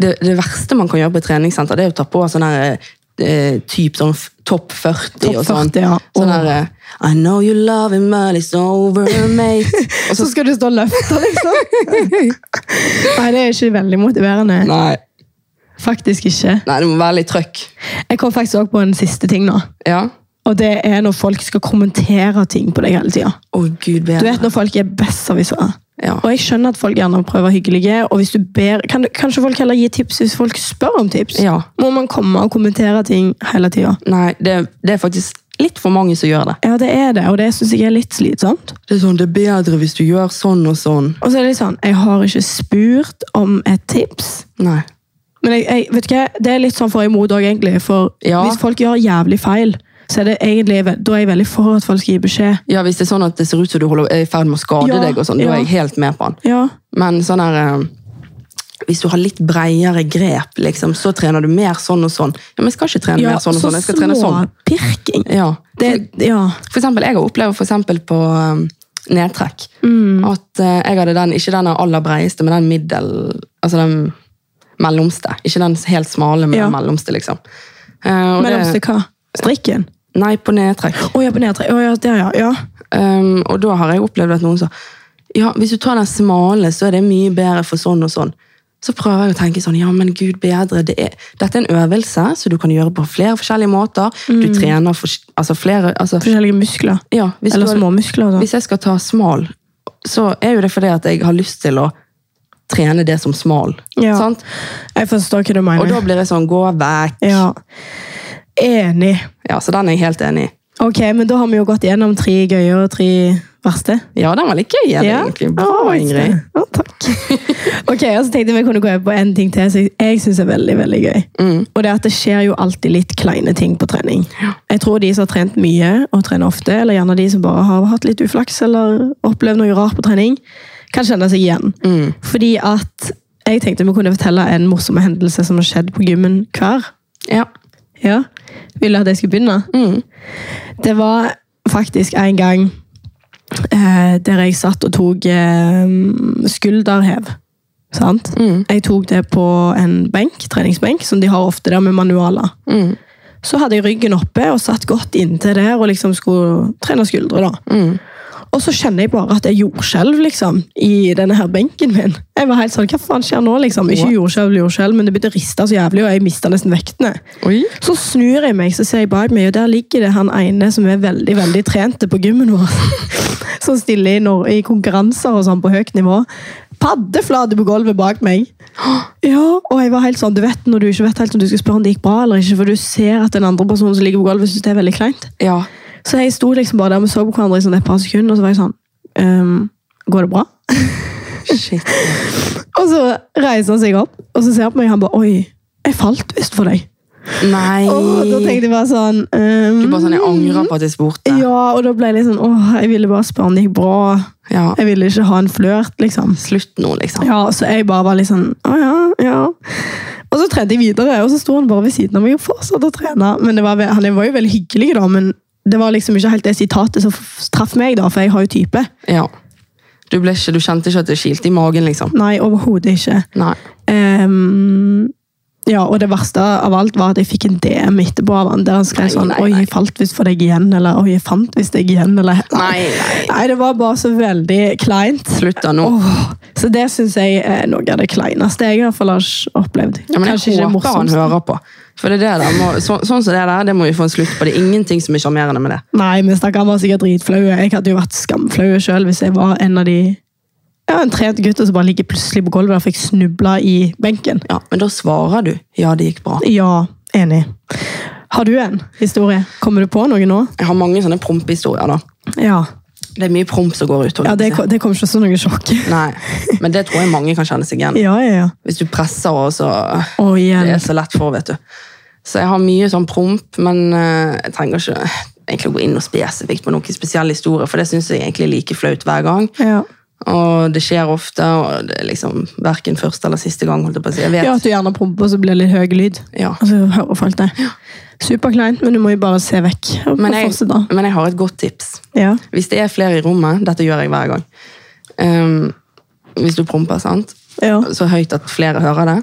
Speaker 2: det, det verste man kan gjøre på et treningssenter, det er å ta på sånn her eh, typ sånn f- topp 40
Speaker 1: Topp
Speaker 2: og sånn.
Speaker 1: 40, ja.
Speaker 2: Sånn her, eh, I know you love him, but it's over, mate.
Speaker 1: Og så skal du stå og løfte, liksom! Nei, det er ikke veldig motiverende.
Speaker 2: Nei,
Speaker 1: Faktisk ikke.
Speaker 2: nei, det må være litt trøkk.
Speaker 1: Jeg kom faktisk også på en siste ting nå.
Speaker 2: Ja.
Speaker 1: Og det er når folk skal kommentere ting på deg hele tida.
Speaker 2: Å, Gud
Speaker 1: Du
Speaker 2: bedre.
Speaker 1: vet når folk er besserwissere.
Speaker 2: Ja.
Speaker 1: Og jeg skjønner at folk gjerne prøver å være hyggelige, og hvis du ber, kan, kanskje folk heller gi tips hvis folk spør om tips?
Speaker 2: Ja.
Speaker 1: Må man komme og kommentere ting hele tida?
Speaker 2: Nei, det, det er faktisk litt for mange som gjør det.
Speaker 1: Ja, det er det, og det syns jeg er litt slitsomt.
Speaker 2: Det er sånn, det er bedre hvis du gjør sånn og sånn.
Speaker 1: Og så er det litt sånn, jeg har ikke spurt om et tips.
Speaker 2: Nei.
Speaker 1: Men jeg, jeg, vet du hva, det er litt sånn for og imot òg, egentlig. For
Speaker 2: Ja.
Speaker 1: hvis folk gjør jævlig feil, så er det egentlig, da er jeg veldig for at folk skal gi beskjed.
Speaker 2: Ja, hvis det er sånn at det ser ut som du holder, er i ferd med å skade
Speaker 1: Ja,
Speaker 2: deg, og sånn, da
Speaker 1: ja.
Speaker 2: er jeg helt med på den.
Speaker 1: Ja,
Speaker 2: Men sånn her, eh, hvis du har litt bredere grep, liksom, så trener du mer sånn og sånn. Ja, men jeg skal ikke trene
Speaker 1: ja
Speaker 2: mer sånn og sånn, jeg skal trene sånn.
Speaker 1: småpirking.
Speaker 2: Ja.
Speaker 1: Det, ja.
Speaker 2: For eksempel, jeg har opplevd for eksempel på eh, nedtrekk,
Speaker 1: Mm.
Speaker 2: at eh, jeg hadde den, ikke den aller breieste, men den middel, altså den mellomste. Ikke den helt smale, men
Speaker 1: Ja.
Speaker 2: den mellomste, liksom. Eh, og
Speaker 1: Mellomste hva? Strikken?
Speaker 2: Det, nei, på nedtrekk.
Speaker 1: Å ja, på nedtre. Å ja, der, ja. ja.
Speaker 2: Um, og da har jeg opplevd at noen sa ja, hvis du tar den smale, så er det mye bedre for sånn og sånn. Så prøver jeg å tenke sånn, ja, men gud bedre, det er, dette er en øvelse, så du kan gjøre på flere forskjellige måter. Du
Speaker 1: Mm.
Speaker 2: trener for, altså flere, altså,
Speaker 1: Forskjellige muskler.
Speaker 2: ja, hvis,
Speaker 1: Eller
Speaker 2: du har-
Speaker 1: småmuskler. Da.
Speaker 2: hvis jeg skal ta smal, så er jo det fordi at jeg har lyst til å trene det som smal.
Speaker 1: Ja.
Speaker 2: Sant?
Speaker 1: Jeg forstår hva du
Speaker 2: Og da
Speaker 1: mener.
Speaker 2: blir jeg sånn, gå vekk.
Speaker 1: Ja. Enig.
Speaker 2: Ja, så den er jeg helt enig i.
Speaker 1: Ok, men da har vi jo gått gjennom tre gøye og tre verste.
Speaker 2: Ja, den var litt gøy, er det egentlig. Bra,
Speaker 1: Ah,
Speaker 2: Ingrid.
Speaker 1: Ja, takk. ok, og så tenkte jeg vi kunne gå på en ting til som jeg syns er veldig veldig gøy.
Speaker 2: Mm.
Speaker 1: Og det er at det skjer jo alltid litt kleine ting på trening. Jeg tror de som har trent mye og trener ofte, eller gjerne de som bare har hatt litt uflaks eller opplevd noe rart på trening, kan kjenne seg igjen.
Speaker 2: Mm.
Speaker 1: Fordi at jeg tenkte vi kunne fortelle en morsom hendelse som har skjedd på gymmen hver.
Speaker 2: Ja. mm,
Speaker 1: Ja. Ville du at jeg skulle begynne? Det var faktisk en gang eh, der jeg satt og tok eh, skulderhev. Sant? Jeg tok det på en benk, treningsbenk, som de har ofte der med manualer.
Speaker 2: mm.
Speaker 1: Så hadde jeg ryggen oppe og satt godt inntil der og liksom skulle trene skuldre. da. Og så kjenner jeg bare at det er jordskjelv liksom, i denne her benken min. Jeg var helt sånn, hva faen skjer nå? liksom? Ikke jordskjelv, jordskjelv, men det begynte å riste så jævlig, og jeg mista nesten vektene.
Speaker 2: Oi.
Speaker 1: Så snur jeg meg, så ser jeg bak meg, og der ligger det han ene som er veldig veldig trente på gymmen vår. Som stiller i, Nor- i konkurranser og sånn på høyt nivå. Paddeflate på gulvet bak meg. Ja, og jeg var helt sånn, du vet når du ikke vet helt om du skal spørre om det gikk bra eller ikke, for du ser at den andre personen som ligger på gulvet, syns det er veldig kleint.
Speaker 2: Ja.
Speaker 1: Så jeg sto liksom bare der vi så på hverandre i sånn et par sekunder, og så var jeg sånn ehm, Går det bra?
Speaker 2: Shit.
Speaker 1: Og så reiser han seg opp, og så ser han på meg, og han bare Oi, jeg falt visst for deg.
Speaker 2: Nei.
Speaker 1: Og da tenkte jeg bare sånn ehm,
Speaker 2: Du bare sånn, jeg angrer på at jeg spurte.
Speaker 1: Ja, og da ble jeg litt sånn Åh, jeg ville bare spørre om det gikk bra.
Speaker 2: Ja.
Speaker 1: Jeg ville ikke ha en flørt, liksom.
Speaker 2: Slutt nå, liksom.
Speaker 1: Ja, Så jeg bare var litt sånn Å ja, ja. Og så trente jeg videre, og så sto han bare ved siden av meg og fortsatte å trene. Men det var, ve- Han var jo veldig hyggelig, da, men det var liksom ikke helt det sitatet som f- traff meg, da, for jeg har jo type.
Speaker 2: Ja. Du, ble ikke, du kjente ikke at det kilte i magen, liksom?
Speaker 1: Nei, overhodet ikke.
Speaker 2: Nei.
Speaker 1: Ehm, ja, og det verste av alt var at jeg fikk en DM etterpå av han, der han skrev
Speaker 2: Nei,
Speaker 1: sånn
Speaker 2: nei,
Speaker 1: Oi,
Speaker 2: nei.
Speaker 1: jeg falt visst for deg igjen, eller Oi, jeg fant visst deg igjen, eller
Speaker 2: Nei, nei.
Speaker 1: Nei, det var bare så veldig kleint.
Speaker 2: Slutt da nå.
Speaker 1: Åh, så det syns jeg er noe av det kleineste jeg i hvert fall har opplevd.
Speaker 2: Ja, men jeg
Speaker 1: Kanskje ikke det
Speaker 2: håper han
Speaker 1: morsomste.
Speaker 2: hører på. For det er det der, må, så, sånn som det der, det må vi få en slutt på. Det er ingenting som er sjarmerende med det.
Speaker 1: Nei, men stakkaren var sikkert dritflaue. Jeg hadde jo vært skamflau sjøl hvis jeg var en av de ja, en trent gutt og så bare ligger plutselig på gulvet og fikk snubla i benken.
Speaker 2: Ja, Men da svarer du ja, det gikk bra.
Speaker 1: Ja, enig. Har du en historie? Kommer du på noe nå?
Speaker 2: Jeg har mange sånne prompehistorier. da.
Speaker 1: Ja.
Speaker 2: Det er mye promp som går ut. holdt
Speaker 1: ja det,
Speaker 2: jeg på å si.
Speaker 1: kom- det kom ikke som noe sjokk.
Speaker 2: Nei, Men det tror jeg mange kan kjenne seg igjen i.
Speaker 1: Ja, ja, ja.
Speaker 2: Hvis du presser, og så
Speaker 1: Og
Speaker 2: Det
Speaker 1: igjen.
Speaker 2: er så lett for, vet du. Så jeg har mye sånn promp, men eh, jeg trenger ikke egentlig gå inn og spesifikt på noen spesiell historie, for det syns jeg egentlig er like flaut hver gang.
Speaker 1: Ja.
Speaker 2: Og det skjer ofte, og det er liksom verken første eller siste gang, holdt jeg på å si. Jeg vet.
Speaker 1: ja, at du gjerne promper så blir det litt høy lyd.
Speaker 2: Ja.
Speaker 1: Og så hører folk det. Superkleint, men du må jo bare se vekk. Og
Speaker 2: Men jeg,
Speaker 1: fortsette.
Speaker 2: men jeg har et godt tips.
Speaker 1: Ja.
Speaker 2: Hvis det er flere i rommet, dette gjør jeg hver gang Ehm, Hvis du promper, sant?
Speaker 1: Ja.
Speaker 2: Så høyt at flere hører det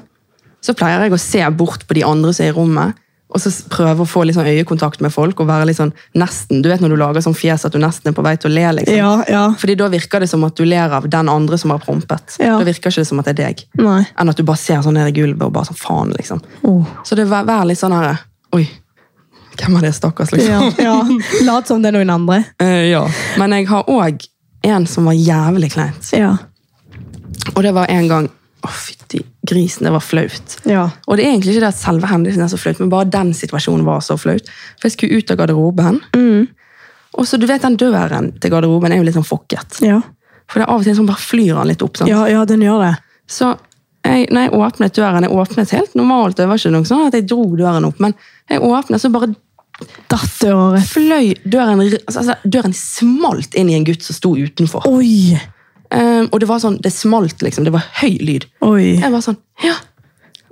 Speaker 2: Så pleier jeg å se bort på de andre som er i rommet Og så s- prøve å få litt sånn øyekontakt med folk Og være litt sånn nesten Du vet når du lager sånn fjes at du nesten er på vei til å le liksom
Speaker 1: ja, ja.
Speaker 2: Fordi da virker det som at du ler av den andre som har prompet
Speaker 1: Ja.
Speaker 2: Da virker ikke det som at det er deg
Speaker 1: Nei.
Speaker 2: Enn at du bare ser sånn ned i gulvet og bare sånn faen liksom
Speaker 1: Åh.
Speaker 2: Så det vær, vær litt sånn her Oi, hvem er det stakkars liksom
Speaker 1: Ja, ja. Lat som det er noen andre.
Speaker 2: Eh, ja. Men jeg har òg en som var jævlig kleint.
Speaker 1: Ja.
Speaker 2: Og det var en gang Å, fytti grisen, det var flaut.
Speaker 1: Ja.
Speaker 2: Og det er egentlig ikke det at selve hendelsen er så flaut, men bare den situasjonen var så flaut. For jeg skulle ut av garderoben.
Speaker 1: Mm.
Speaker 2: Og så du vet den døren til garderoben er jo litt sånn fokket.
Speaker 1: Ja.
Speaker 2: For det er av og til sånn bare flyr han litt opp. sant?
Speaker 1: ja, ja, den gjør det.
Speaker 2: Så jeg, når jeg åpnet døren, jeg åpnet helt normalt, det var ikke noe sånn at jeg dro døren opp, men jeg åpnet, så bare
Speaker 1: Datteret.
Speaker 2: fløy døren altså, altså, Døren smalt inn i en gutt som sto utenfor.
Speaker 1: Oi!
Speaker 2: Um, og det var sånn, det smalt liksom, det var høy lyd.
Speaker 1: Oi.
Speaker 2: Jeg var sånn, ja.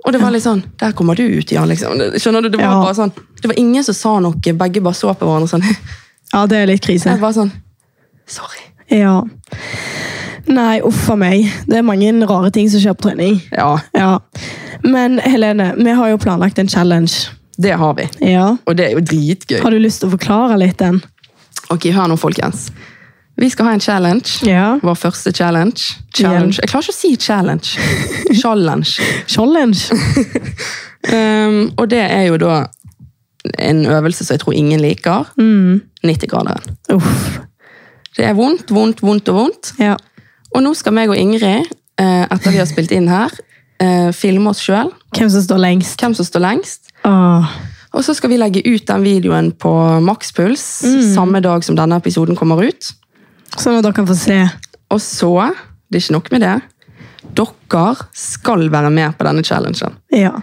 Speaker 2: Og det var litt sånn, der kommer du ut, ja, liksom. Skjønner du, det var
Speaker 1: Ja.
Speaker 2: bare sånn, det var ingen som sa noe, begge bare så på hverandre sånn. Jeg
Speaker 1: Ja, det er litt krise.
Speaker 2: var sånn, sorry.
Speaker 1: Ja. Nei, uff a meg. Det er mange rare ting som skjer på trening.
Speaker 2: Ja,
Speaker 1: Ja. Men Helene, vi har jo planlagt en challenge.
Speaker 2: det har vi.
Speaker 1: Ja.
Speaker 2: Og det er jo dritgøy.
Speaker 1: Har du lyst til å forklare litt den?
Speaker 2: Ok, hør nå, folkens. Vi skal ha en challenge.
Speaker 1: Ja.
Speaker 2: Vår første challenge. Challenge. Jeg klarer ikke å si challenge. Challenge.
Speaker 1: Challenge?
Speaker 2: Um, og det er jo da en øvelse som jeg tror ingen liker. 90-graderen.
Speaker 1: Uff.
Speaker 2: Det er vondt, vondt, vondt og vondt.
Speaker 1: Ja.
Speaker 2: Og nå skal meg og Ingrid, eh, etter vi har spilt inn her, eh, filme oss sjøl.
Speaker 1: Hvem som står lengst? Ah.
Speaker 2: Hvem som står lengst.
Speaker 1: Åh.
Speaker 2: Og så skal vi legge ut den videoen på makspuls samme dag som denne episoden kommer ut.
Speaker 1: Sånn at dere kan få se.
Speaker 2: Og så, det er ikke nok med det, dere skal være med på denne challengen.
Speaker 1: Ja.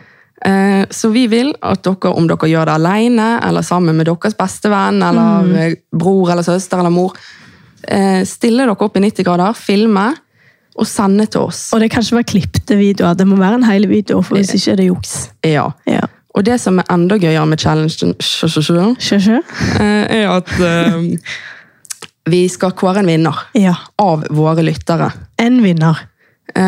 Speaker 2: Eh, Så vi vil at dere, om dere gjør det alene, eller sammen med deres bestevenn, eller eh, bror eller søster eller mor, eh, stille dere opp i 90 grader, filme, og sende til oss.
Speaker 1: Og det kan ikke være klippte videoer. Det må være en hel video, for hvis ikke er det juks.
Speaker 2: Ja.
Speaker 1: Ja.
Speaker 2: Og det som er enda gøyere med challengen, sjø, sjø, sjø,
Speaker 1: Sjø, sjø?
Speaker 2: eh, er at eh, vi skal kåre en vinner
Speaker 1: Ja.
Speaker 2: av våre lyttere.
Speaker 1: En vinner.
Speaker 2: Eh,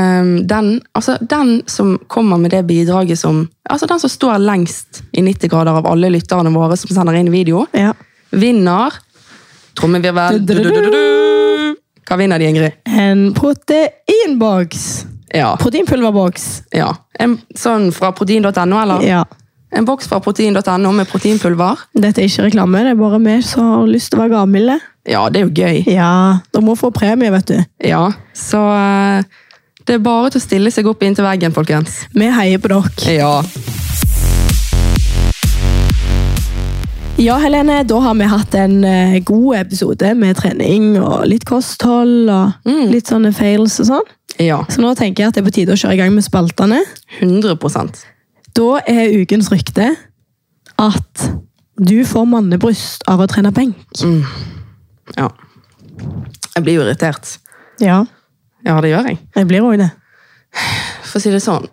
Speaker 2: Den, altså, den som kommer med det bidraget som Altså den som står lengst i 90 grader av alle lytterne våre som sender inn video,
Speaker 1: Ja.
Speaker 2: vinner Trommevirvel.
Speaker 1: Du, du, du, du,
Speaker 2: Du-du-du-du-du. Hva vinner de, Ingrid?
Speaker 1: En proteinboks.
Speaker 2: Ja.
Speaker 1: Proteinpulverboks.
Speaker 2: ja. En sånn fra protein.no, eller?
Speaker 1: Ja.
Speaker 2: En boks fra protein.no med proteinpulver?
Speaker 1: Dette er ikke reklame, det er bare vi som har lyst til å være gavmilde.
Speaker 2: Ja, det er jo gøy.
Speaker 1: Ja, da må vi få premie, vet du.
Speaker 2: Ja, så eh, det er bare til å stille seg opp inntil veggen, folkens.
Speaker 1: Vi heier på dere.
Speaker 2: Ja.
Speaker 1: Ja, Helene, da har vi hatt en eh, god episode med trening og litt kosthold og litt sånne fails og sånn.
Speaker 2: ja.
Speaker 1: Så nå tenker jeg at det er på tide å kjøre i gang med spaltene.
Speaker 2: 100
Speaker 1: Da er ukens rykte at du får mannebryst av å trene benk.
Speaker 2: Ja. Jeg blir jo irritert.
Speaker 1: Ja,
Speaker 2: Ja, det gjør jeg.
Speaker 1: jeg blir òg det.
Speaker 2: For å si det sånn.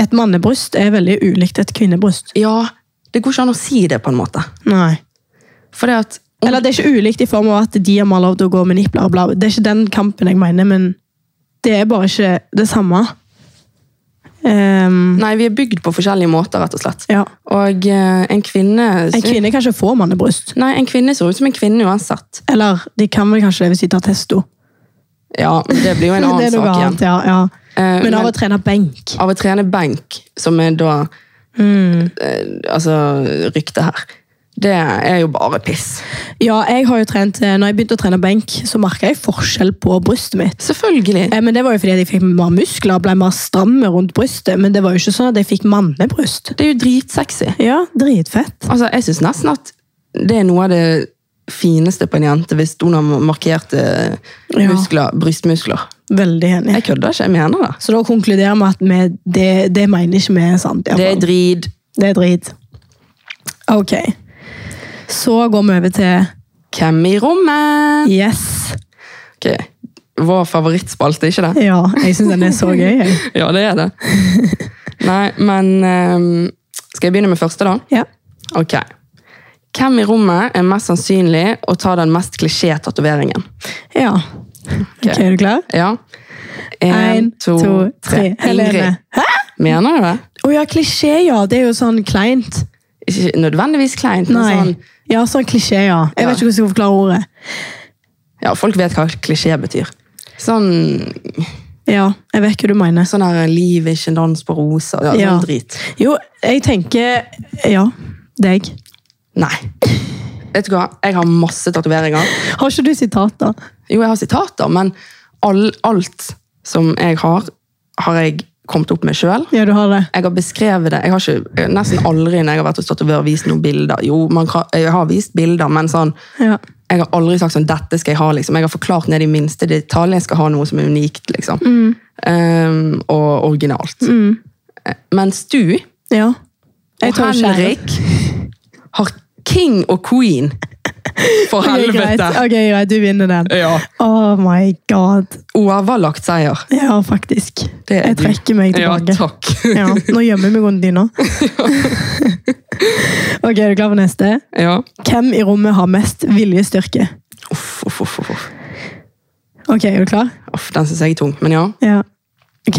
Speaker 1: Et mannebryst er veldig ulikt et kvinnebryst.
Speaker 2: Ja, det går ikke an å si det, på en måte.
Speaker 1: Nei.
Speaker 2: For det at
Speaker 1: Eller det er ikke ulikt i form av at de har mer lov til å gå med nipp, bla, bla. Det er ikke den kampen jeg mener, men det er bare ikke det samme. Ehm,
Speaker 2: Nei, vi er bygd på forskjellige måter, rett og slett.
Speaker 1: ja.
Speaker 2: Og eh, en kvinne
Speaker 1: En kvinne kan ikke få mannebryst.
Speaker 2: Nei, en kvinne ser ut som en kvinne uansett.
Speaker 1: Eller de kan vel kanskje det hvis de tar testo.
Speaker 2: Ja, men det blir jo en
Speaker 1: Men det
Speaker 2: annen
Speaker 1: er noe
Speaker 2: sak igjen.
Speaker 1: annet, ja, ja.
Speaker 2: Eh,
Speaker 1: Men av å
Speaker 2: men-
Speaker 1: trene benk.
Speaker 2: Av å trene benk, som er da eh, Altså, ryktet her. Det er jo bare piss.
Speaker 1: Ja, jeg har jo trent, eh, når jeg begynte å trene benk, så merka jeg forskjell på brystet mitt.
Speaker 2: Selvfølgelig.
Speaker 1: Eh, Men Det var jo fordi at jeg fikk mer muskler ble mer stramme rundt brystet. Men det var jo ikke sånn at jeg fikk mannebryst.
Speaker 2: Det er jo dritsexy.
Speaker 1: Ja, dritfett.
Speaker 2: Altså, jeg syns nesten at det er noe av det fineste på en jente hvis hun har markerte
Speaker 1: Ja.
Speaker 2: muskler, brystmuskler.
Speaker 1: Veldig enig.
Speaker 2: Jeg kødder ikke, jeg mener det.
Speaker 1: Så da konkluderer vi at vi, det, det mener ikke vi er sant. i hvert
Speaker 2: Det er
Speaker 1: fall.
Speaker 2: drit.
Speaker 1: det er drit. Ok. Så går vi over til
Speaker 2: Hvem i rommet?
Speaker 1: Yes.
Speaker 2: Ok, Vår favorittspalte, ikke det?
Speaker 1: Ja, jeg syns den er så gøy. jeg.
Speaker 2: Ja, det er det. Nei, men ehm, Skal jeg begynne med første, da?
Speaker 1: Ja.
Speaker 2: Ok. Hvem i rommet er mest sannsynlig å ta den mest klisjé-tatoveringen?
Speaker 1: ja. Ok, Er du klar?
Speaker 2: Ja. En,
Speaker 1: Én, to, tre. Helene.
Speaker 2: Ingrid. Mener du det?
Speaker 1: Å ja, klisjé, ja. Det er jo sånn kleint.
Speaker 2: Ikke nødvendigvis kleint, men
Speaker 1: Nei.
Speaker 2: sånn
Speaker 1: Ja, sånn klisjé, ja. Jeg
Speaker 2: Ja.
Speaker 1: vet ikke hvordan jeg skal forklare ordet.
Speaker 2: Ja, folk vet hva klisjé betyr. Sånn,
Speaker 1: Ja, jeg vet hva du mener.
Speaker 2: sånn her 'liv er ikke en dans på roser'. Ja,
Speaker 1: Ja.
Speaker 2: Sånn drit.
Speaker 1: Jo, jeg tenker Ja, deg.
Speaker 2: Nei. Vet du hva, jeg har masse tatoveringer.
Speaker 1: Har ikke du sitater?
Speaker 2: Jo, jeg har sitater, men all, alt som jeg har, har jeg kommet opp med sjøl.
Speaker 1: Ja, du har det.
Speaker 2: Jeg har beskrevet det. Jeg har ikke, eh, nesten aldri når jeg har vært hos tatovør, vist noen bilder. Jo, man kan, jeg har vist bilder, men sånn
Speaker 1: Ja.
Speaker 2: Jeg har aldri sagt sånn, dette skal jeg ha. liksom. Jeg har forklart ned i minste detalj. Jeg skal ha noe som er unikt liksom.
Speaker 1: Mm.
Speaker 2: Ehm, og originalt. Eh, Mens du
Speaker 1: ja.
Speaker 2: og
Speaker 1: Jeg tar skjære.
Speaker 2: Henrik har king og queen. For
Speaker 1: Ok, greit.
Speaker 2: helvete!
Speaker 1: Ok, greit. Du vinner den.
Speaker 2: Ja.
Speaker 1: Oh my god.
Speaker 2: Overlagt seier.
Speaker 1: Ja, faktisk.
Speaker 2: Det er
Speaker 1: Jeg
Speaker 2: du.
Speaker 1: trekker meg
Speaker 2: Ja,
Speaker 1: tilbake.
Speaker 2: takk.
Speaker 1: Ja, nå gjemmer jeg meg under dyna. ok, er du klar for neste?
Speaker 2: Ja.
Speaker 1: Hvem i rommet har mest viljestyrke?
Speaker 2: Uff, uff, uff, uff, uff.
Speaker 1: Ok, er du klar?
Speaker 2: Uff, Den syns jeg er tung, men ja.
Speaker 1: Ja. Ok.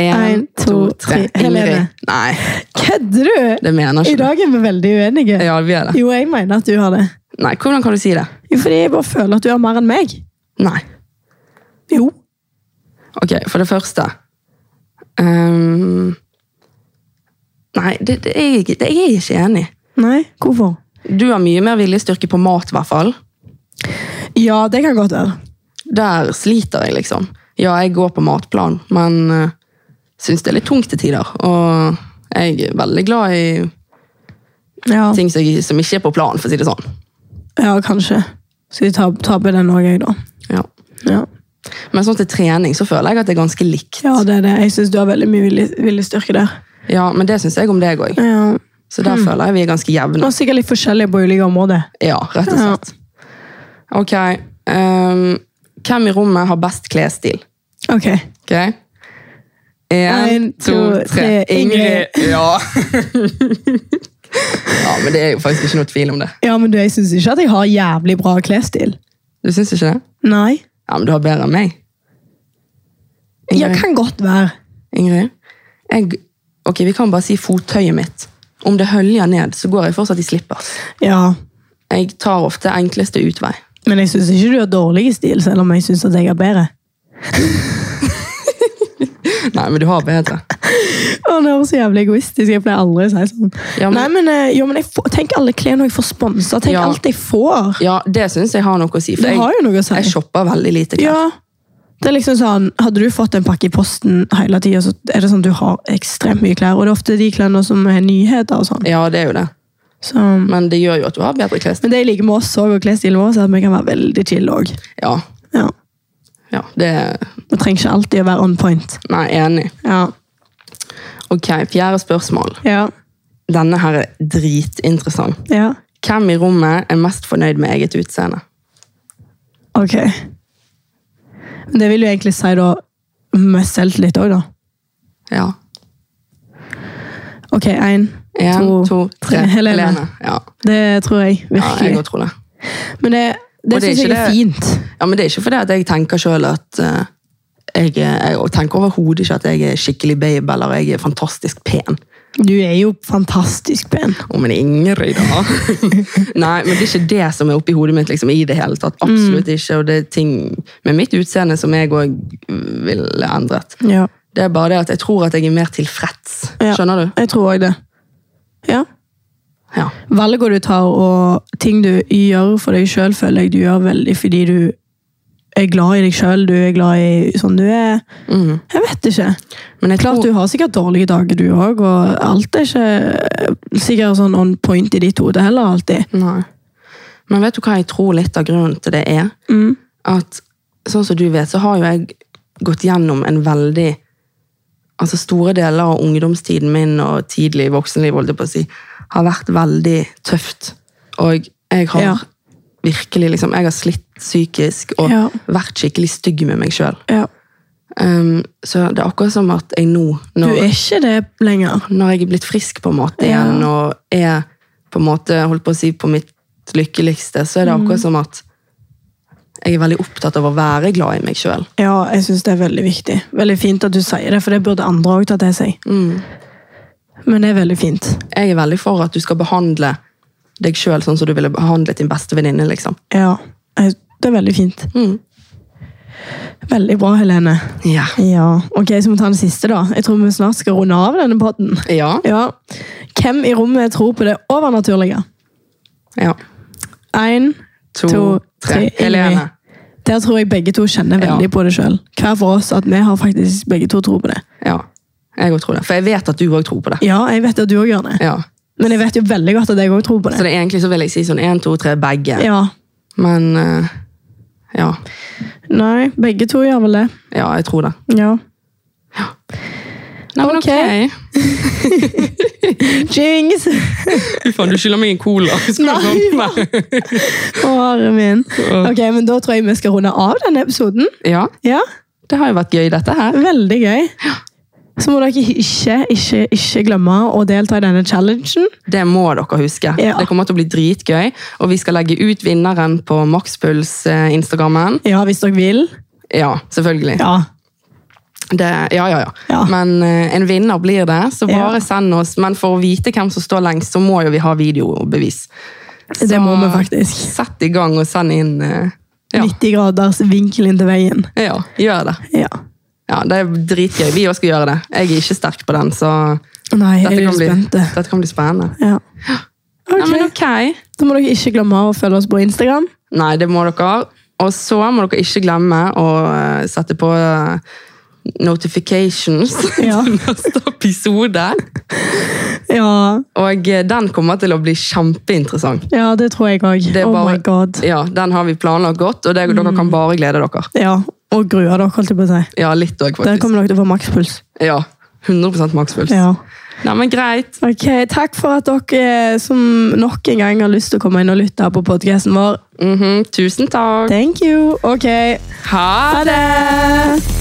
Speaker 2: En,
Speaker 1: En, to, tre. Helene.
Speaker 2: Ingrid. Nei,
Speaker 1: Kødder du?
Speaker 2: det mener
Speaker 1: I
Speaker 2: ikke du.
Speaker 1: dag er vi veldig uenige.
Speaker 2: Ja, vi er det.
Speaker 1: Jo, jeg mener at du har det.
Speaker 2: Nei, Hvordan kan du si det?
Speaker 1: Jo, fordi jeg bare føler at du har mer enn meg.
Speaker 2: Nei.
Speaker 1: Jo.
Speaker 2: Ok, for det første Ehm, Nei, det, det, er jeg, ikke- det er jeg ikke enig i.
Speaker 1: Nei, hvorfor?
Speaker 2: Du har mye mer viljestyrke på mat, i hvert fall.
Speaker 1: Ja, det kan godt være.
Speaker 2: Der sliter jeg, liksom. Ja, jeg går på matplan, men uh, syns det er litt tungt til tider. Og jeg er veldig glad i
Speaker 1: Ja,
Speaker 2: ting som, som ikke er på plan, for å si det sånn.
Speaker 1: ja kanskje. Skal vi ta, ta på den òg, jeg, da?
Speaker 2: Ja.
Speaker 1: Ja.
Speaker 2: Men sånn til trening så føler jeg at det er ganske likt.
Speaker 1: Ja, det er det. Jeg syns du har veldig mye vilje- viljestyrke der.
Speaker 2: Ja, Men det syns jeg om deg òg.
Speaker 1: Ja.
Speaker 2: Så der føler jeg vi er ganske jevne.
Speaker 1: Og sikkert litt forskjellige på ulike områder.
Speaker 2: Ja, rett og
Speaker 1: Ja.
Speaker 2: slett. Ok. ehm, hvem i rommet har best klesstil?
Speaker 1: Ok.
Speaker 2: Ok? En, to, tre. Ingrid! Ja. ja, men det er jo faktisk ikke noe tvil om det.
Speaker 1: Ja, men du, jeg syns ikke at jeg har jævlig bra klesstil.
Speaker 2: Du syns ikke det?
Speaker 1: Nei.
Speaker 2: Ja, men du har bedre enn meg.
Speaker 1: Ja, kan godt være.
Speaker 2: Ingrid? Jeg, ok, vi kan bare si fottøyet mitt. Om det høljer ned, så går jeg fortsatt i slippers.
Speaker 1: Ja.
Speaker 2: Jeg tar ofte enkleste utvei.
Speaker 1: Men jeg syns ikke du har dårlig stil, selv om jeg syns at jeg har bedre.
Speaker 2: Nei, men du har bedre.
Speaker 1: Å, nå er jeg så jævlig egoistisk. Jeg pleier aldri å si sånn.
Speaker 2: Ja, men-
Speaker 1: Nei, men, eh, jo, men jeg får, tenk alle klærne jeg får sponsa. Tenk
Speaker 2: Ja.
Speaker 1: alt jeg får.
Speaker 2: Ja, det syns jeg har noe å si. For
Speaker 1: Det har jo
Speaker 2: jeg,
Speaker 1: noe å si.
Speaker 2: jeg shopper veldig lite. klær.
Speaker 1: Ja. Det er liksom sånn, Hadde du fått en pakke i posten hele tida, så er det sånn at du har ekstremt mye klær. Og det er ofte de klærne som er nyheter og sånn.
Speaker 2: Ja, det er jo det.
Speaker 1: Så,
Speaker 2: Men det gjør jo at du har bedre klesstil.
Speaker 1: men det jeg liker med oss også, og klesstilen vår, er at vi kan være veldig chill òg.
Speaker 2: Ja,
Speaker 1: Ja.
Speaker 2: ja, det
Speaker 1: Vi trenger ikke alltid å være on point.
Speaker 2: Nei, enig.
Speaker 1: Ja.
Speaker 2: Ok, fjerde spørsmål.
Speaker 1: Ja.
Speaker 2: Denne her er dritinteressant.
Speaker 1: ja.
Speaker 2: Hvem i rommet er mest fornøyd med eget utseende?
Speaker 1: Ok. Men Det vil jo egentlig si da med selvtillit òg, da.
Speaker 2: Ja.
Speaker 1: Ok, én,
Speaker 2: En, to, tre.
Speaker 1: Helene.
Speaker 2: Ja,
Speaker 1: Det tror jeg
Speaker 2: ja jeg
Speaker 1: virkelig.
Speaker 2: òg tror det.
Speaker 1: Men det, det,
Speaker 2: Og det er
Speaker 1: syns jeg
Speaker 2: ikke
Speaker 1: er
Speaker 2: det-
Speaker 1: fint.
Speaker 2: Ja, men det er ikke fordi at jeg tenker selv at eh, jeg, er- jeg tenker overhodet ikke at jeg er skikkelig babe, eller jeg er fantastisk pen.
Speaker 1: Du er jo fantastisk pen.
Speaker 2: Om en Ingrid, da! Nei, men det er ikke det som er oppi hodet mitt liksom, i det hele tatt. Absolutt ikke. Og det er ting med mitt utseende som jeg òg ville endret.
Speaker 1: Ja.
Speaker 2: Det er bare det at jeg tror at jeg er mer tilfreds.
Speaker 1: Ja.
Speaker 2: Skjønner du?
Speaker 1: Jeg tror òg det. Ja.
Speaker 2: Ja.
Speaker 1: Valgene du tar og ting du gjør for deg sjøl, føler jeg du gjør veldig fordi du er glad i deg sjøl. Du er glad i sånn du er.
Speaker 2: Mhm.
Speaker 1: Jeg vet ikke.
Speaker 2: Men jeg
Speaker 1: Klart
Speaker 2: tror,
Speaker 1: du har sikkert dårlige dager, du òg, og alt er ikke sikkert sånn on point i ditt hode heller alltid.
Speaker 2: Nei. Men vet du hva jeg tror litt av grunnen til det er?
Speaker 1: Mm.
Speaker 2: At sånn som du vet, så har jo jeg gått gjennom en veldig Altså store deler av ungdomstiden min og tidlig voksenliv holdt jeg på å si, har vært veldig tøft. Og jeg har
Speaker 1: Ja.
Speaker 2: virkelig liksom, jeg har slitt psykisk og
Speaker 1: Ja.
Speaker 2: vært skikkelig stygg med meg sjøl.
Speaker 1: Ja.
Speaker 2: Um, så det er akkurat som at jeg nå,
Speaker 1: Du
Speaker 2: når,
Speaker 1: er ikke det lenger.
Speaker 2: når jeg er blitt frisk på en måte igjen, og er på en måte, holdt på å si, på mitt lykkeligste, så er det akkurat som at jeg er veldig opptatt av å være glad i meg sjøl.
Speaker 1: Ja, jeg syns det er veldig viktig. Veldig fint at du sier det, for det burde andre òg ta til seg.
Speaker 2: Mm.
Speaker 1: Men det er veldig fint.
Speaker 2: Jeg er veldig for at du skal behandle deg sjøl sånn som du ville behandlet din beste venninne, liksom.
Speaker 1: Ja, jeg- det er veldig fint.
Speaker 2: Mm.
Speaker 1: Veldig bra, Helene.
Speaker 2: Ja.
Speaker 1: Ja, ok, så må vi ta den siste da. Jeg tror vi snart skal runde av denne podden.
Speaker 2: Ja.
Speaker 1: Ja. Hvem i rommet tror på det overnaturlige?
Speaker 2: ja.
Speaker 1: En,
Speaker 2: To, tre.
Speaker 1: Ingrid.
Speaker 2: Helene.
Speaker 1: Der tror jeg begge to kjenner
Speaker 2: Ja.
Speaker 1: veldig på det selv. Hver for oss at vi har faktisk begge to tro på det.
Speaker 2: Ja. Jeg òg tror det. For jeg vet at du òg tror på det.
Speaker 1: Ja, jeg vet at du også gjør det.
Speaker 2: Ja.
Speaker 1: Men jeg vet jo veldig godt at jeg også tror på
Speaker 2: Så
Speaker 1: det.
Speaker 2: det er egentlig så vil jeg si sånn én, to, tre, begge.
Speaker 1: Ja,
Speaker 2: Men eh, ja.
Speaker 1: nei, begge to gjør vel det.
Speaker 2: Ja, jeg tror det.
Speaker 1: Ja.
Speaker 2: Nei, men
Speaker 1: Ok. Jinx!
Speaker 2: Fy faen, du skylder meg en cola. Skal
Speaker 1: Nei,
Speaker 2: du komme?
Speaker 1: Åre min. Ok, men da tror jeg vi skal runde av denne episoden.
Speaker 2: Ja,
Speaker 1: Ja,
Speaker 2: det har jo vært gøy, dette her.
Speaker 1: Veldig gøy. Så må dere ikke, ikke, ikke glemme å delta i denne challengen.
Speaker 2: Det må dere huske.
Speaker 1: Ja.
Speaker 2: Det kommer til å bli dritgøy. Og vi skal legge ut vinneren på Maxpuls-instagrammen.
Speaker 1: Ja, hvis dere vil.
Speaker 2: Ja, selvfølgelig. Ja.
Speaker 1: Ja.
Speaker 2: Det, ja, ja, ja.
Speaker 1: Ja.
Speaker 2: Men eh, en vinner blir det, så
Speaker 1: Ja.
Speaker 2: bare send oss. Men for å vite hvem som står lengst, så må jo vi ha videobevis.
Speaker 1: Det må vi faktisk.
Speaker 2: Sett i gang og send inn eh, ja.
Speaker 1: 90 graders vinkel inn til veien.
Speaker 2: ja, gjør det.
Speaker 1: Ja.
Speaker 2: Ja, Det er dritgøy. Vi òg skal gjøre det. Jeg er ikke sterk på den, så
Speaker 1: Nei,
Speaker 2: dette
Speaker 1: jeg
Speaker 2: kan
Speaker 1: er
Speaker 2: bli,
Speaker 1: spent.
Speaker 2: dette kan bli spennende.
Speaker 1: Ja.
Speaker 2: Nei, men
Speaker 1: Ok,
Speaker 2: ok.
Speaker 1: Da må dere ikke glemme å følge oss på Instagram.
Speaker 2: Nei, det må dere. Og så må dere ikke glemme å eh, sette på eh, notifications
Speaker 1: Ja.
Speaker 2: til neste episode.
Speaker 1: Ja,
Speaker 2: Og eh, den kommer til å bli kjempeinteressant.
Speaker 1: ja det tror jeg òg.
Speaker 2: Det er
Speaker 1: Oh
Speaker 2: bare-
Speaker 1: my god.
Speaker 2: Ja, Den har vi planlagt godt, og det,
Speaker 1: Mm.
Speaker 2: dere kan bare glede dere.
Speaker 1: Ja, Og gruer dere, holdt jeg på å si.
Speaker 2: Ja, litt
Speaker 1: Der
Speaker 2: òg, faktisk.
Speaker 1: kommer dere til å få makspuls.
Speaker 2: Ja, 100 makspuls.
Speaker 1: Ja.
Speaker 2: Nei, men greit.
Speaker 1: Ok, Takk for at dere eh, som nok en gang har lyst til å komme inn og lytte på podkasten vår.
Speaker 2: Mhm, Tusen takk.
Speaker 1: Thank you. Ok,
Speaker 2: Ha
Speaker 1: ha det!